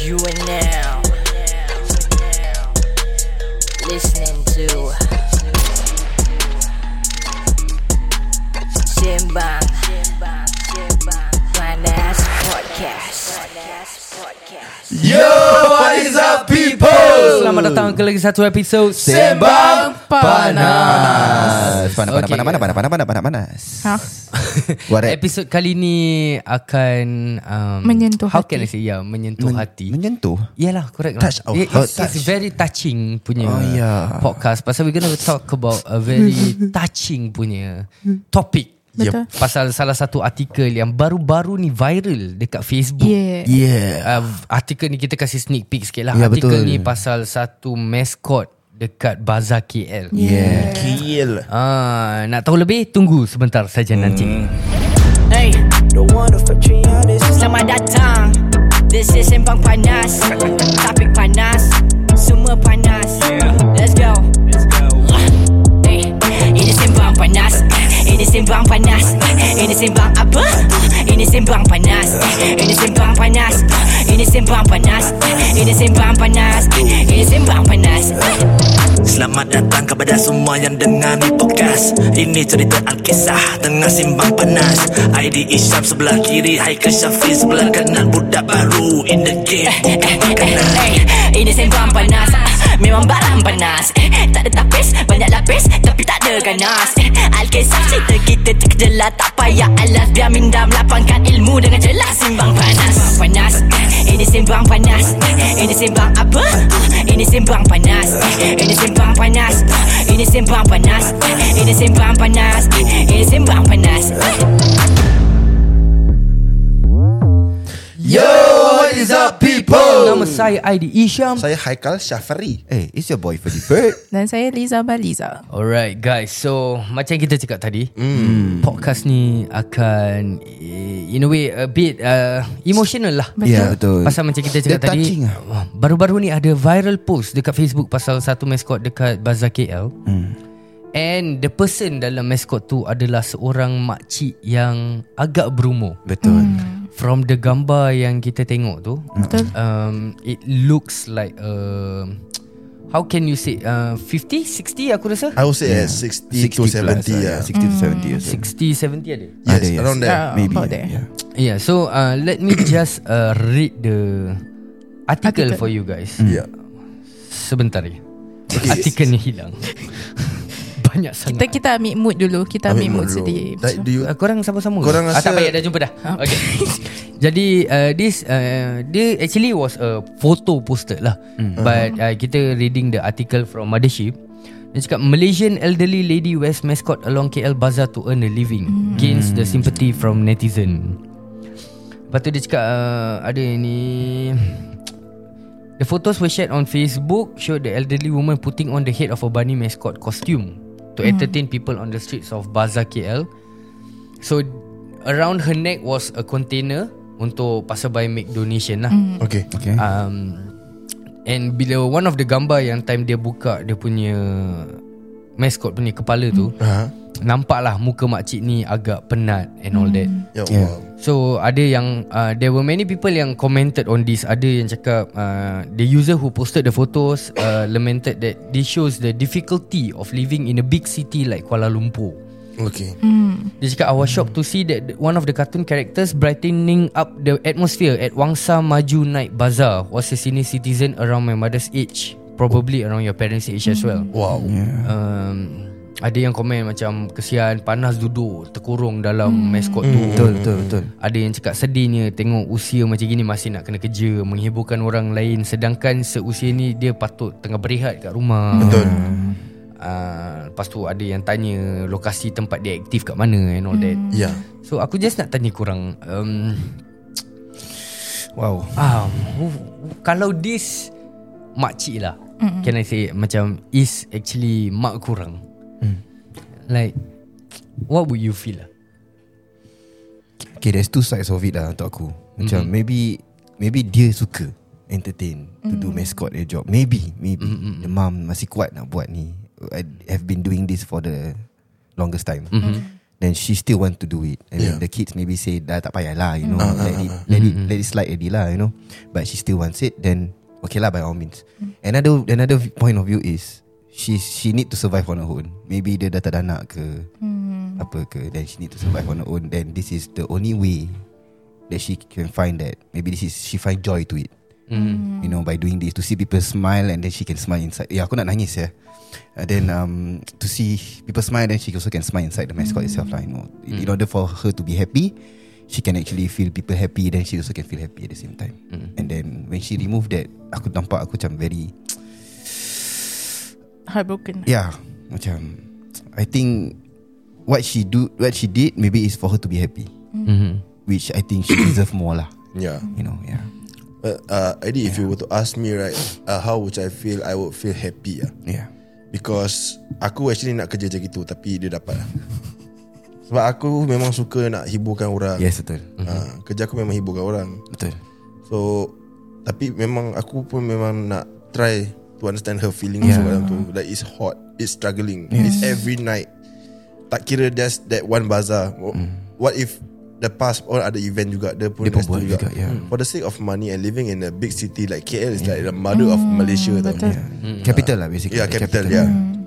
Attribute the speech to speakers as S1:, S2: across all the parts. S1: You are now listening to Simbang Panas Podcast.
S2: Yo, what is up people?
S3: Selamat datang ke lagi satu episod
S2: Sembang Panas. Panas, panas,
S3: Okey.
S2: panas, panas, panas, panas, panas, panas, panas. What up?
S3: Episod kali ni akan um,
S4: Menyentuh
S3: how
S4: hati.
S3: can I say yeah, menyentuh
S2: Men-
S3: hati.
S2: Menyentuh?
S3: Yalah correct
S2: Touch our
S3: lah. It-
S2: heart.
S3: it's, it's very touching punya
S2: Oh, yeah.
S3: podcast pasal we're gonna talk about a very touching punya topic.
S2: Yep.
S3: Pasal salah satu artikel yang baru-baru ni viral dekat Facebook.
S4: Yeah.
S2: Yeah.
S3: uh, artikel ni kita kasih sneak peek sikit lah.
S2: Ya, betul.
S3: artikel ni pasal satu mascot dekat Bazar KL.
S2: Yeah. Kill.
S3: Ah, nak tahu lebih tunggu sebentar saja hmm. nanti.
S1: Hey, selamat datang. This is Sembang Panas. Topik panas, semua panas. Let's go. Hey, ini Sembang Panas. Ini Sembang Panas. Ini Sembang apa? Ini Sembang Panas. Ini Sembang Panas. Ini Sembang Panas. Ini Sembang Panas. Ini Sembang Panas.
S5: Selamat datang kepada semua yang dengar ni podcast Ini cerita Alkisah tengah simbang panas ID Isyam sebelah kiri Haikal Syafiq sebelah kanan Budak baru in the game bukan makanan
S1: Eh, Ini sembang panas Ah, Memang barang panas Eh, Tak ada tapis Banyak lapis Tapi tak ada ganas Eh, Alkisah cerita kita terkejelah Tak payah alas Biar minda melapangkan ilmu Dengan jelas Simbang panas Simbang panas Eh, Ini sembang panas Eh, Ini sembang apa? Ah, Ini sembang panas Eh, Ini sembang panas Ah, Ini sembang panas Eh, Ini sembang panas Eh, Ini sembang panas Eh.
S2: Yo, what is up people?
S3: Nama saya Aidi Isham.
S2: Saya Haikal Syafari. Eh, hey, it's your boy for the bird.
S4: Dan saya Liza Baliza.
S3: Alright guys, so macam kita cakap tadi,
S2: Hmm.
S3: mm. podcast ni akan eh, in a way a bit uh, emotional lah.
S4: Betul.
S2: Ya, betul.
S3: Pasal macam kita cakap
S2: Dia touching
S3: tadi
S2: lah.
S3: wah, Baru-baru ni ada viral post Dekat Facebook Pasal satu mascot dekat Bazar KL
S2: Hmm.
S3: And the person dalam mascot tu Adalah seorang makcik yang Agak berumur
S2: Betul.
S3: From the gambar yang kita tengok tu
S4: Hmm. Betul.
S3: um, It looks like a, How can you say uh, 50, 60 aku rasa
S6: I would say yeah. 60, to 70 yeah.
S2: 60 to 70 years.
S3: 60, 70 ada
S6: Yes,
S2: Ada, yes.
S6: around there
S4: Mm. Yeah,
S2: Maybe.
S4: about there.
S2: Yeah.
S3: Yeah so uh, let me just uh, read the Article,
S4: Article. Hmm.
S3: for you guys
S6: yeah.
S3: Sebentar ya Artikel ni hilang Banyak
S4: Kita
S3: sangat
S4: kita ambil mood dulu. Kita ambil, mood sedih.
S6: Like, do you,
S3: Uh, Korang sama-sama
S6: Korang
S3: ah, Tak
S6: rasa- Ha?
S3: payah dah jumpa dah okay. Jadi uh, This uh, Dia actually was a Photo posted lah
S6: Hmm.
S3: mm. But uh, Kita reading the article From Mothership Dia cakap Malaysian elderly lady Wears mascot Along KL Bazaar To earn a living Gains the
S6: Hmm.
S3: sympathy From netizen Lepas tu dia cakap uh, Ada ni The photos were shared on Facebook showed the elderly woman putting on the head of a bunny mascot costume to entertain people on the streets of Bazaar KL. So around her neck was a container untuk passerby make donation lah.
S6: Okay
S2: Okay.
S3: Um, and bila one of the gambar yang time dia buka dia punya mascot punya kepala tu,
S6: uh-huh.
S3: nampak lah muka makcik ni agak penat and all that.
S6: Ya
S2: Yeah.
S6: Allah
S3: So ada yang uh, There were many people yang commented on this Ada yang cakap uh, The user who posted the photos uh, Lamented that This shows the difficulty Of living in a big city Like Kuala Lumpur
S6: Okay
S3: Dia cakap I was shocked to see that One of the cartoon characters Brightening up the atmosphere At Wangsa Maju Night Bazaar Was a senior citizen around my mother's age Probably around your parents age as well
S6: Wow
S2: Mm-hmm.
S3: um, ada yang komen macam kesian panas duduk terkurung dalam mascot tu.
S2: Mm. Betul, betul, betul.
S3: Ada yang cakap sedihnya tengok usia macam gini masih nak kena kerja, menghiburkan orang lain sedangkan seusia ni dia patut tengah berehat kat rumah.
S6: Betul
S3: Uh, lepas tu ada yang tanya lokasi tempat dia aktif kat mana and all that.
S6: Ya yeah.
S3: So aku just nak tanya korang um,
S2: Wow.
S3: ah, who- kalau this makcik lah mm can I say macam is actually mak kurang. Like what would you feel lah?
S2: Okay, there's two sides of it lah untuk aku. Macam mm-hmm. maybe maybe dia suka entertain to do mascot their job. Maybe, maybe mm-hmm. the mom masih kuat nak buat ni. I have been doing this for the longest time. Mm-hmm. then she still want to do it. I mean,
S6: Yeah.
S2: the kids maybe say dah tak payahlah, you know, let it let it let it slide already lah, you know. But she still wants it, then okay lah by all means. Another another point of view is she she need to survive on her own. Maybe dia dah tak ada anak ke apa ke, then she need to survive on her own. Then this is the only way that she can find that maybe this is she find joy to it. You know by doing this to see people smile and then she can smile inside. Yeah, aku nak nangis ya. And then um, to see people smile, then she also can smile inside the mascot itself lah. You know, in order for her to be happy, she can actually feel people happy. Then she also can feel happy at the same time. And then when she remove that, aku nampak aku macam very
S4: Heartbroken.
S2: yeah ya, macam I think what she do what she did maybe is for her to be happy,
S3: Mhm.
S2: which I think she deserve more lah.
S6: Yeah.
S2: You know, yeah,
S6: But uh, Eddie, if you were to ask me, right, uh, how would I feel? I would feel happy. Uh,
S2: yeah.
S6: because aku actually nak kerja macam gitu, tapi dia dapat. ah. Sebab aku memang suka nak hiburkan orang.
S2: Yes betul,
S6: Uh, kerja aku memang hiburkan orang.
S2: betul.
S6: So Tapi memang Aku pun memang nak Try To understand her feeling yeah. Dalam tu Like it's hot It's struggling yes. It's every night Tak kira just That one bazaar mm. What if The past Or ada event juga Dia pun,
S2: Dia pun
S6: resta
S2: buat juga, yeah.
S6: For the sake of money And living in a big city Like KL is like The mother of Malaysia tau.
S4: betul.
S6: Yeah.
S3: Mm.
S2: Capital lah basically.
S6: yeah capital yeah
S2: Mm.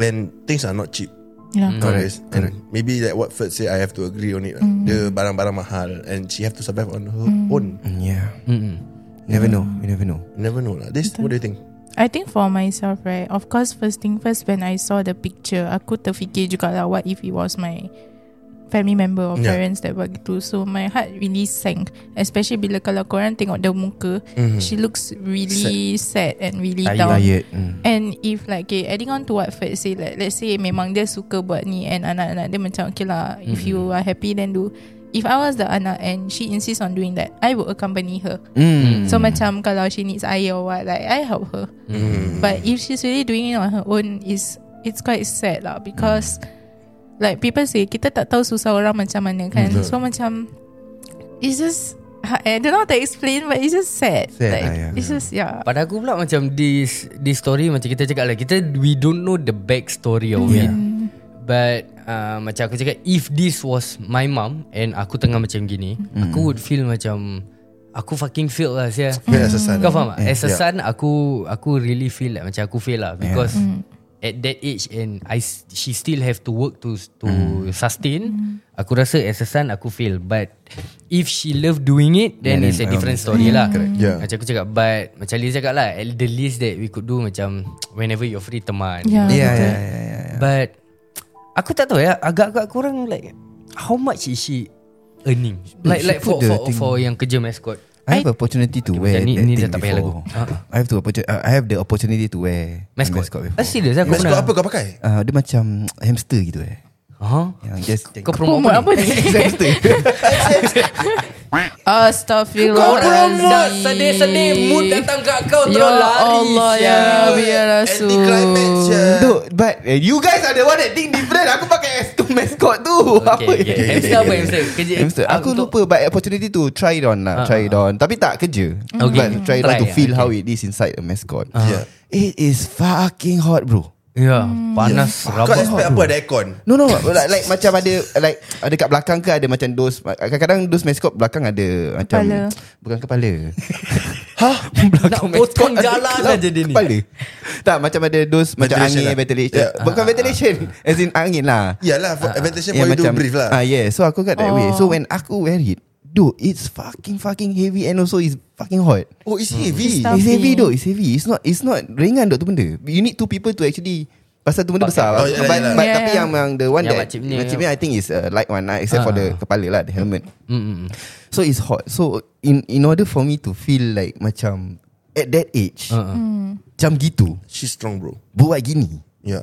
S6: When things are not cheap
S4: Yeah.
S6: Correct. And maybe like what Ferd say I have to agree on it mm. The barang-barang mahal And she have to survive on her own
S2: Mm, Yeah. Never know. You never know.
S6: Never know lah This what do you think?
S4: I think for myself right Of course first thing first When I saw the picture Aku terfikir juga lah What if it was my Family member or
S6: Yeah.
S4: parents That buat gitu So my heart really sank Especially bila Kalau korang tengok dia muka She looks really Mm-hmm. sad, And really down
S2: Tired. Mm.
S4: And if like okay, Adding on to what Fred say like, Let's say memang dia suka buat ni And anak-anak dia macam Okay lah If you are happy then do If I was the anak And she insists on doing that I would accompany her
S2: Mm.
S4: So macam kalau she needs air or what Like I help her
S2: Mm.
S4: But if she's really doing it on her own is It's quite sad lah Because Like people say Kita tak tahu susah orang macam mana kan So macam It's just I don't know how to explain But it's just sad,
S2: Sad
S4: like,
S2: lah, yeah.
S4: It's just yeah
S3: Pada aku pula macam this this story macam kita cakap lah kita we don't know the back story of yeah. it. But uh, macam aku cakap if this was my mom and aku tengah macam gini, mm. aku would feel macam aku fucking feel lah sia.
S6: Feel as a son.
S3: Kau faham tak?
S6: Yeah.
S3: As a
S6: Yeah.
S3: son aku aku really feel like macam aku feel lah because yeah. at that age and I s- she still have to work to to mm. sustain. Aku rasa as a son aku feel but if she love doing it then
S2: Yeah,
S3: it's a
S2: then,
S3: different
S2: um,
S3: story lah. Correct.
S6: Yeah.
S3: Macam aku cakap But Macam Liz cakap lah at The least that we could do Macam Whenever you're free teman
S2: Yeah,
S4: Yeah, betul.
S2: yeah, yeah, yeah.
S3: But Aku tak tahu ya Agak-agak kurang like How much is she Earning Like
S2: she
S3: like
S2: put
S3: for
S2: the
S3: for,
S2: thing- Eh?
S3: for yang kerja mascot
S2: I have opportunity to wear
S3: macam ni-
S2: that
S3: ni
S2: thing
S3: dah tak payah
S2: before.
S3: lagu. Ah, ah.
S2: I have to opportunity, I have the opportunity to wear
S3: Mascot,
S2: mascot before.
S3: Ah, serious aku
S6: Mask kau
S3: pernah
S6: apa kau pakai?
S2: Uh, dia macam hamster gitu eh.
S3: huh?
S2: Yang just
S3: Kau promote
S4: Promote kan?
S3: apa
S4: apa
S3: ni?
S4: ni? Astaghfirullah
S3: Sedih-sedih Mood datang kat kau Terus
S4: Ya
S3: lari
S4: Allah Ya Rabbi Ya Rasul
S6: Anti-climax je.
S2: Hmm. Dude, but eh, you guys are the one that think different. Aku pakai as tu mascot tu.
S3: Okay, okay.
S2: yang-
S3: Hamster apa hamster? Kerja
S2: Hamster. Aku
S3: untuk-
S2: lupa but opportunity to try it on lah,
S3: Ah,
S2: try it on. Tapi tak kerja.
S3: Okay.
S2: But try it on
S3: Try,
S2: to feel
S3: okay. Ah.
S2: how it is inside a mascot.
S6: Yeah.
S2: It is fucking hot, bro.
S3: Ya Panas
S6: Kau
S3: rabak
S6: expect apa ada aircon?
S2: No no like, like macam ada like ada kat belakang ke ada macam dos kadang-kadang dos mascot belakang ada macam
S4: Kepala.
S2: bukan kepala. Hah? belakang
S3: Nak
S2: mascot
S3: potong
S2: ada
S3: jalan
S2: kelab-
S3: aja dia ni.
S2: Kepala. Tak macam ada dos macam
S6: Ventilation
S2: angin
S6: lah.
S2: ventilation.
S6: Yeah.
S2: Bukan
S3: Ah.
S2: ventilation as in angin lah.
S6: Yalah for advantage for you to breathe lah. Oh.
S2: Ah yeah, so aku got that way. So when aku wear it, dude, it's fucking fucking heavy and also it's fucking hot. Hmm.
S6: Oh, it's heavy.
S4: Stuff.
S2: It's heavy
S4: Stuffy.
S2: though It's heavy It's not it's not ringan dok tu benda You need two people to actually Pasal tu benda besar
S6: Oh,
S2: but,
S6: yeah, yeah, yeah.
S2: but,
S4: Yeah,
S2: Tapi
S4: yeah.
S2: yang, yang The one
S3: Yang
S2: that
S3: makcik punya.
S2: Makcik punya I think is a light one lah, Except for
S3: Ah.
S2: the Kepala lah The helmet
S6: Mm,
S3: Mm-mm.
S2: So it's hot So in in order for me to feel like Macam At that age
S6: Uh-uh.
S3: Ah, ah.
S4: Hmm.
S2: Macam gitu
S6: She's strong bro.
S2: Buat gini
S6: Yeah.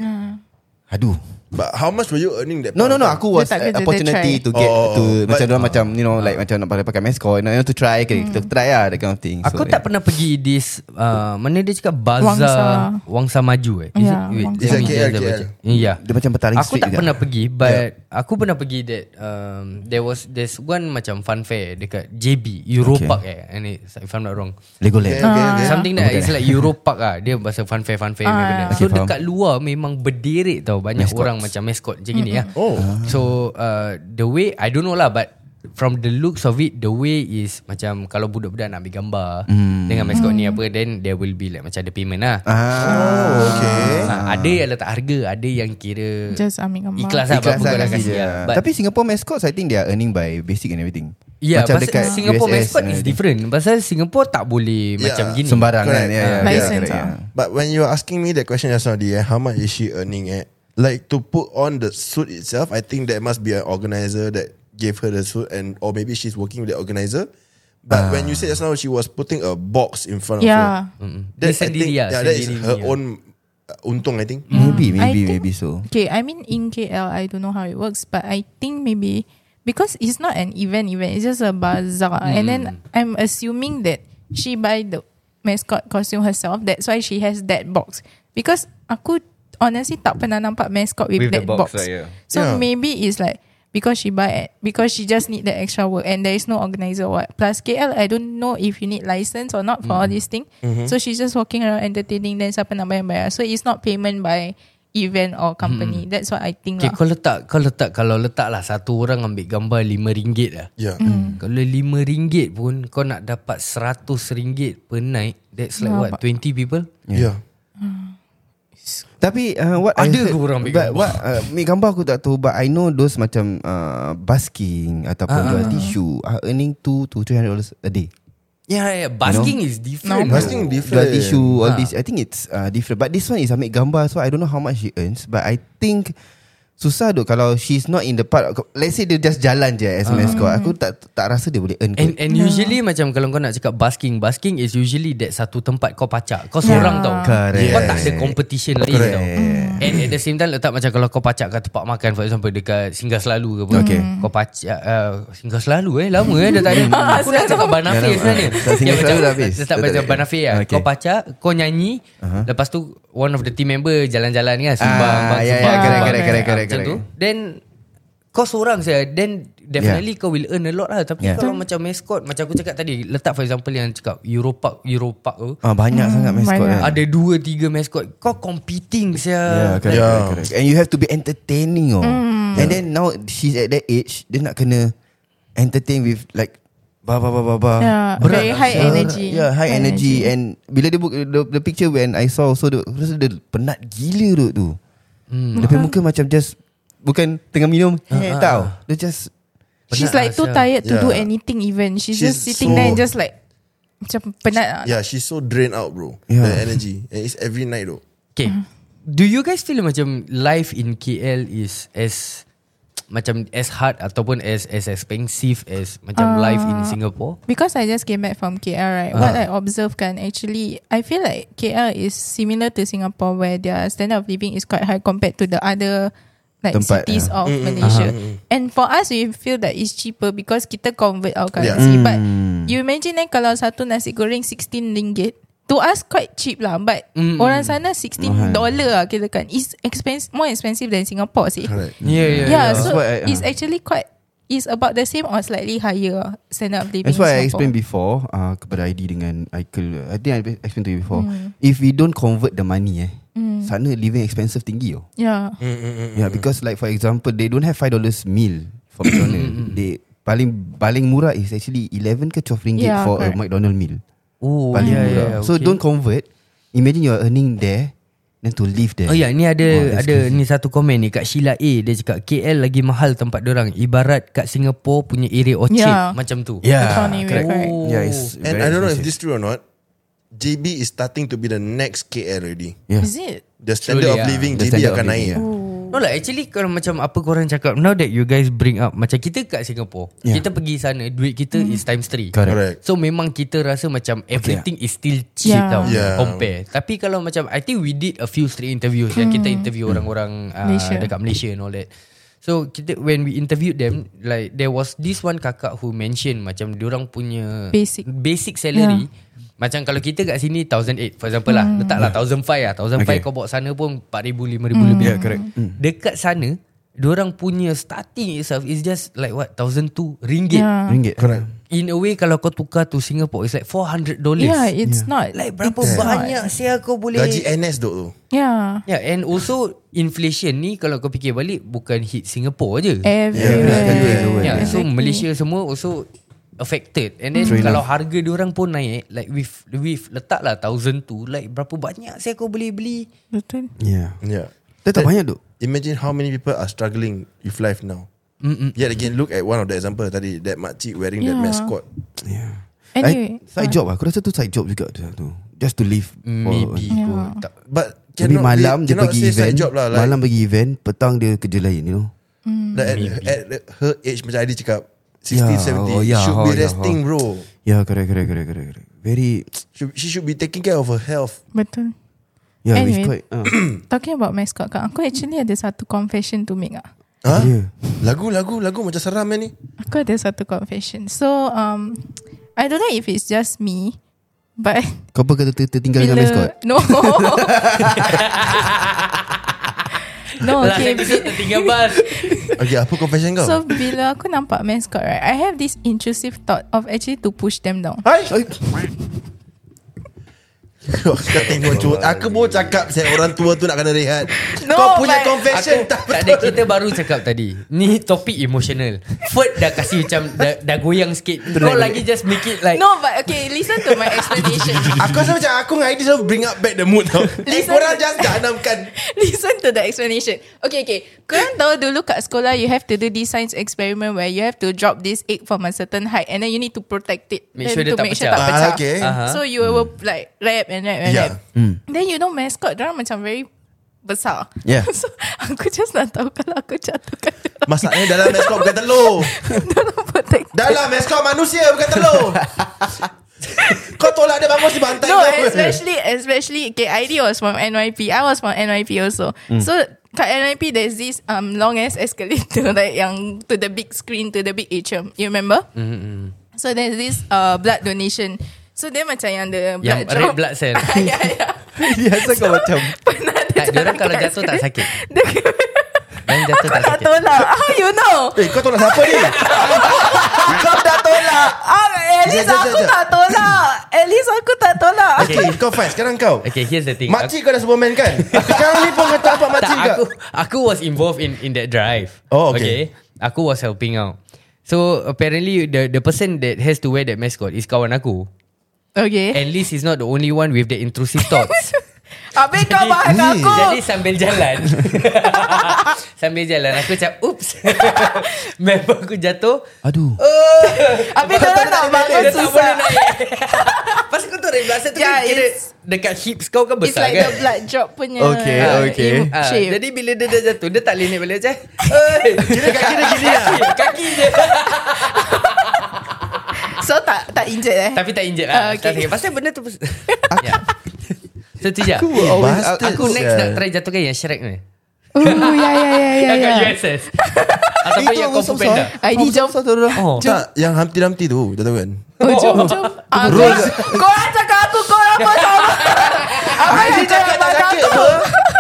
S2: Aduh
S6: But how much were you earning that?
S2: No no
S6: point
S2: no
S6: of time?
S2: Aku was
S4: Dia tak
S2: uh,
S4: kerja, dia
S2: opportunity
S4: try.
S2: to get
S6: Oh,
S2: to
S6: but-
S2: Macam orang macam You know like
S3: Ah.
S2: Macam nak pakai pakai mask Kau know, to try okay,
S4: Hmm.
S2: Kita try lah That kind of thing So,
S3: Aku
S2: yeah.
S3: tak pernah pergi this uh, Mana dia cakap
S4: Wangsa.
S3: Bazaar Wangsa, Wangsa Maju eh
S4: Ya, Wangsa.
S6: Is that KL?
S3: Ya
S2: Dia macam petaling
S3: Aku
S2: street Ya.
S3: tak
S2: juga.
S3: pernah pergi But Aku pernah pergi that um, There was There's one macam fun fair Dekat JB Europark okay. eh and it, If I'm not wrong
S2: Legoland
S6: Okay, okay, okay.
S3: Something that It's like Europark ah Dia pasal lah. fun fair Fun fair ni benda.
S2: Okay,
S3: So
S2: faham.
S3: dekat luar Memang berderet tau Banyak
S2: Mascot.
S3: orang macam mascot macam gini lah. Oh. So uh, the way I don't know lah but from the looks of it the way is macam kalau budak-budak nak ambil gambar dengan mascot ni apa then there will be like macam ada payment lah.
S2: Mm. Ah, okay.
S3: Ha, ada yang letak harga, ada yang kira
S4: Just ambil gambar.
S3: ikhlas lah
S2: Ikhlas lah
S3: apa kau dah
S2: kasi
S3: kasi
S2: dia.
S3: lah. But
S2: Tapi Singapore mascots I think they are earning by basic and everything. macam
S3: Yeah, Ya, pasal
S2: dekat
S3: Singapore
S2: USS
S3: mascot
S2: and
S3: is
S2: everything.
S3: different. Pasal Singapore tak boleh
S6: Yeah.
S3: macam gini.
S2: Sembarang kan.
S6: Correct.
S2: Yeah, yeah,
S6: Ah.
S2: yeah,
S4: License
S2: correct,
S4: ah.
S2: yeah.
S6: But when you are asking me that question just now, yeah, how much is she earning at? Like to put on the suit itself, I think that must be an organizer that gave her the suit, and or maybe she's working with the organizer. But when you said just now, she was putting a box in front
S4: Yeah.
S6: of her. Yeah,
S3: Dia sendiri lah,
S6: yeah, that is
S3: sendiri
S6: her
S3: punya.
S6: own uh, untung.
S3: Hmm.
S6: I think.
S2: Maybe,
S4: I
S2: maybe,
S4: think-
S2: maybe so.
S4: Okay, I mean in KL, I don't know how it works, but I think maybe because it's not an event event, it's just a bazaar,
S3: Hmm.
S4: and then I'm assuming that she buy the mascot costume herself. That's why she has that box because aku honestly tak pernah nampak mascot with,
S3: With the
S4: that
S3: box
S4: box.
S3: lah, yeah.
S4: So
S6: Yeah.
S4: maybe it's like because she buy it because she just need the extra work and there is no organizer or what. Plus KL, I don't know if you need license or not for
S6: Mm-hmm.
S4: all this thing. So she's just walking around entertaining then siapa nak bayar-bayar. So it's not payment by event or company.
S6: Mm-hmm.
S4: That's what I think
S3: Okay,
S4: lah.
S3: kau letak, kau letak, kalau letak lah satu orang ambil gambar RM5 lah.
S6: Yeah.
S3: Kalau RM5 pun kau nak dapat RM100 per night, that's like
S4: Ya,
S3: what, 20 people?
S6: Yeah.
S2: Tapi uh, what I
S3: Ada
S2: heard,
S3: ke orang ambil
S2: but
S3: gambar?
S2: What, uh, ambil gambar aku tak tahu But I know those macam uh, Basking Ataupun
S3: Ah,
S2: jual tisu Are earning 2 to 300 dollars a day
S3: Yeah, yeah, yeah. basking is different.
S6: No, basking
S3: bro.
S6: different.
S2: Jual tisu All this I think it's uh, different But this one is ambil gambar So I don't know how much she earns But I think Susah tu Kalau she's not in the part Let's say dia just jalan je As a mascot Aku tak tak rasa dia boleh earn kan,
S3: And
S2: kot
S3: and usually macam kalau kau nak cakap basking, basking is usually that satu tempat kau pacak. Kau seorang tau.
S2: Correct.
S3: Kau tak ada competition lain
S6: Correct.
S3: tau. And at the same time letak macam kalau kau pacak kat tempat makan for example dekat Singgah Selalu ke apa.
S2: Okay.
S3: Kau pacak uh, Singgah Selalu eh lama eh dah tak ada. Aku nak cakap Banafir
S2: Ya, dah-
S3: sebenarnya.
S2: dah Singgah
S3: Ya,
S2: Selalu
S3: macam
S2: dah habis.
S3: Letak
S2: Dah tak
S3: macam
S2: ada.
S3: Banafir lah.
S2: Okay.
S3: Kau pacak, kau nyanyi, lepas tu one of the team member jalan-jalan kan sumbang,
S2: Ah,
S3: bang,
S2: ya, ya,
S3: sumbang,
S2: correct,
S3: sumbang.
S2: correct, correct, correct,
S3: Macam tu.
S2: correct. Ya.
S3: Then kau seorang saja Then definitely yeah. kau will earn a lot lah Tapi
S2: Yeah.
S3: yeah. kalau macam mascot Macam aku cakap tadi Letak for example yang cakap Europark Europark tu
S2: Ah, Banyak sangat mascot
S4: banyak.
S2: kan.
S3: Ada dua tiga mascot Kau
S2: Yeah,
S3: competing saya
S2: Ya, correct,
S6: Yeah.
S2: correct, correct. And you have to be entertaining oh.
S4: Mm.
S2: And then now she's at that age, dia nak kena entertain with like ba ba ba ba ba.
S4: Yeah, very high
S2: sia.
S4: energy.
S2: Yeah, high
S4: High
S2: energy. And bila dia book the, the picture when I saw so dia rasa dia penat gila duk tu. Hmm. Dia punya muka macam just bukan tengah minum uh, tau. Dia just
S4: She's
S3: Penat
S4: like
S3: lah,
S4: too
S3: sia.
S4: tired to
S6: Yeah.
S4: do anything even. She's,
S6: She's
S4: just sitting
S6: so-
S4: there and just like macam penat lah.
S6: Yeah, she's so drained out, bro.
S2: Yeah.
S6: The energy. And it's every night, though.
S3: Okay Do you guys feel macam Life in KL is As Macam as hard Ataupun as as expensive As macam life in Singapore
S4: Because I just came back from KL, right? What
S2: Uh-huh.
S4: I observe kan actually, I feel like KL is similar to Singapore where their standard of living is quite high compared to the other like
S2: Tempat,
S4: cities
S2: yeah.
S4: of Malaysia. And for us, we feel that it's cheaper because kita convert our
S6: Yeah.
S4: currency. But
S2: Mm.
S4: you imagine eh, kalau satu nasi goreng 16 ringgit, to us quite cheap lah. But orang sana 16 dollar lah kira kan. It's expensive, more expensive than Singapore sih.
S6: Correct.
S3: Yeah yeah
S4: Yeah,
S2: That's
S4: so
S2: what I- uh-huh.
S4: it's actually quite, it's about the same or slightly higher standard of living
S2: That's why I
S4: in Singapore.
S2: explained before uh, kepada ID dengan Aikul. I think I explained to you before.
S4: Hmm.
S2: If we don't convert the money eh, sana living expensive tinggi oh.
S4: Yeah.
S3: Hmm.
S2: Yeah,
S6: Hmm.
S2: because like for example, they don't have five dollars meal for
S6: Hmm,
S2: McDonald. they paling paling murah is actually eleven ke twelve ringgit
S4: Yeah,
S2: for a
S4: correct.
S2: McDonald meal.
S3: Oh
S2: Paling
S3: yeah,
S2: murah.
S3: yeah,
S2: So
S3: okay.
S2: don't convert. Imagine you are earning there, then to live there.
S3: Oh ya, ni ada
S2: Wah, that's
S3: ada ni satu komen ni kat Sheila A dia cakap KL lagi mahal tempat orang ibarat kat Singapore punya area Orchard
S4: Yeah.
S3: macam tu.
S2: Yeah,
S4: Tony,
S2: correct.
S4: correct.
S2: Yeah, it's
S6: Oh. And
S2: very
S6: I don't know if
S2: expensive.
S6: this true or not. JB is starting to be the next KL already.
S2: Yeah.
S4: Is it?
S6: The standard
S3: Surely,
S6: of
S3: ah.
S6: living
S2: The
S6: JB
S2: standard
S6: akan
S2: of living,
S6: naik.
S2: yeah.
S3: No lah actually kalau macam apa korang cakap now that you guys bring up macam kita kat Singapore yeah.
S2: Yeah.
S3: kita pergi sana duit kita mm. is times three.
S2: Correct.
S6: Correct.
S3: So memang kita rasa macam everything is still cheap
S4: Yeah.
S3: tau
S6: Yeah.
S3: compare. Tapi kalau macam I think we did a few straight interviews mm. kita interview orang-orang uh,
S4: Malaysia.
S3: dekat Malaysia and all that. So kita when we interviewed them like there was this one kakak who mention macam diorang punya
S4: Basic.
S3: basic salary yeah. macam kalau kita kat sini 1008 for example lah letaklah 1005 lah 1005 okay.
S2: Okay.
S3: kau bawa sana pun 4000 5000 mm. lebih.
S2: Yeah, correct.
S4: Uh-huh.
S2: Mm.
S3: Dekat sana Diorang punya starting itself Is just like what 1002 ringgit
S4: Yeah.
S2: Ringgit.
S6: Correct.
S3: In a way Kalau kau tukar to Singapore It's like 400 dollars
S4: Yeah, Ya, it's not
S3: Like berapa
S4: it's not.
S3: banyak Saya kau boleh
S6: Gaji NS duk tu
S4: Yeah,
S3: Yeah Ya, and also Inflation ni Kalau kau fikir balik Bukan hit Singapore je
S4: everywhere.
S3: Yeah, so
S4: Eh, Exactly.
S3: Malaysia semua also affected. And then
S2: True
S3: True kalau harga diorang pun naik, like with with letaklah thousand tu, like berapa banyak saya kau boleh beli?
S4: Betul.
S2: Yeah
S6: Yeah
S2: Dia tak banyak duk
S6: Imagine how many people are struggling with life now. Mm-mm. Yet again, look at one of the example tadi that makcik wearing yeah. that
S4: Yeah.
S6: mascot.
S2: Yeah
S4: Anyway,
S2: I, Side job lah Aku rasa tu side job juga tu, tu. Just to live
S3: Maybe
S2: for,
S3: kot. Tak,
S6: But
S2: Maybe
S6: cannot
S2: malam dia
S6: be, cannot
S2: pergi
S6: say
S2: event
S6: side job lah. Like,
S2: Malam pergi event Petang dia kerja lain you know
S6: like at, at her age macam Adi cakap 60,
S2: Yeah,
S6: 70
S2: oh, yeah,
S6: should
S2: oh,
S6: be
S2: yeah,
S6: resting
S2: oh.
S6: bro.
S2: Yeah correct correct correct correct, correct. Very
S6: Should, she should be taking care of her health.
S4: betul.
S2: Yeah
S4: Anyway.
S2: it's quite uh,
S4: Talking about mascot kan, aku actually ada satu confession to make ah.
S6: Ha?
S2: Yeah.
S6: Lagu lagu lagu macam seram eh, ni.
S4: Aku ada satu confession. So, um, I don't know if it's just me, but
S2: Kau apa kata ter- tertinggal dengan mascot
S4: No. no, okay. bi-
S3: Lah, tertinggal bas.
S6: Okay, apa confession kau?
S4: So bila aku nampak mascot right I have this intrusive thought Of actually to push them down
S6: Hai. Kau tengok cuat Aku mau cakap Saya orang tua tu nak kena rehat
S4: No,
S6: Kau punya
S4: but-
S6: confession
S3: Aku
S6: tak
S3: tak ada kita baru cakap tadi. Ni topik emotional. Ferd dah kasih macam dah, dah goyang sikit. Kau lagi just make it like
S4: No but okay Listen to my explanation
S6: Aku rasa macam Aku dengan Aidi selalu bring up back the mood tau Eh
S4: Listen.
S6: korang jangan jahanamkan
S4: Listen to the explanation Okay okay Korang tahu dulu kat sekolah You have to do this science experiment Where you have to drop this egg From a certain height And then you need to protect it
S3: Make
S4: then
S3: sure dia
S4: to
S3: tak
S4: make sure
S3: pecah. Uh-huh.
S4: tak
S6: Ah,
S4: pecah
S6: okay. Hmm.
S3: Aha.
S4: So you will like Wrap and wrap and
S6: Yeah. Hmm.
S4: wrap Then you know mascot Diorang macam very Besar
S2: Yeah.
S4: So aku just nak tahu Kalau aku jatuh kat dalam-
S6: Masalahnya dalam meskop bukan telur
S4: Dalam protected
S6: Dalam meskop manusia bukan telur Kau tolak dia bangun si bantai
S4: No,
S6: kau apa?
S4: especially especially okay, ID was from NYP. I was from NYP also.
S3: Mm.
S4: So kat NYP there's this um long ass escalator like yang to the big screen to the big atrium. You remember?
S3: Mm-hmm.
S4: So there's this uh blood donation. So dia macam yang the
S3: yang
S4: blood
S3: red
S4: drop.
S3: blood cell.
S4: ya, ya.
S2: Biasa kau macam
S4: Pernah dia
S3: Tak, diorang kalau
S4: kat
S3: jatuh tak sakit.
S4: escalator. Dia
S3: Yang jatuh tak
S4: tak
S3: sakit.
S4: tolak. How you know?
S6: Eh kau tolak siapa ni? kau dah tolak
S4: Ah, at least
S6: Jap, jap,
S4: aku
S6: jap, jap.
S4: tak tolak. At least aku tak tolak.
S6: Okay kau fast Sekarang kau
S3: Okay, here's the thing.
S6: Makcik kau dah Superman kan? Sekarang ni pun kau tak dapat makcik
S3: tak,
S6: kau
S3: aku, aku was involved in in that drive.
S6: Oh, okay.
S3: Aku was helping out. So apparently the the person that has to wear that mascot is kawan aku.
S6: Eh?
S4: Okay.
S3: At least he's not the only one with the intrusive thoughts.
S4: Habis kau bahas aku.
S3: Jadi sambil jalan Sambil jalan Aku macam Oops Member aku jatuh
S2: Aduh
S4: Habis dia nak bangun
S3: Dia tak boleh
S4: susah.
S3: naik Pasal kau tarik belakang tu
S4: Yeah,
S3: kan kira
S4: it's-
S3: Dekat hips kau kan
S4: It's
S3: besar
S4: like
S3: kan
S4: the blood drop punya
S2: Okay,
S4: uh,
S2: okay.
S4: im-
S3: Ah,
S4: shape.
S3: jadi bila dia dah jatuh Dia tak boleh naik balik macam "Oi."
S6: Kira kaki dia gini lah
S3: Kaki dia
S4: So tak tak injet eh
S3: Tapi tak injet lah
S4: Ah,
S3: Tak
S4: okay.
S3: sakit Pasal benda tu Ya So tu je
S2: Aku always
S6: Eh, bastard.
S3: Aku next
S6: Yeah.
S3: nak try jatuhkan yang Shrek ni
S4: Oh ya ya ya ya
S3: Yang kat
S4: ya
S3: USS Ataupun yang Kung Fu Panda
S4: ID jom
S3: Oh
S6: Tak yang Humpty Dumpty tu Jatuh kan?
S4: Oh jom jom Ah, Korang korang cakap aku Korang pun sama Apa yang
S6: Aidi
S4: cakap
S6: cakap
S4: pasal
S6: tak sakit
S4: aku
S6: apa?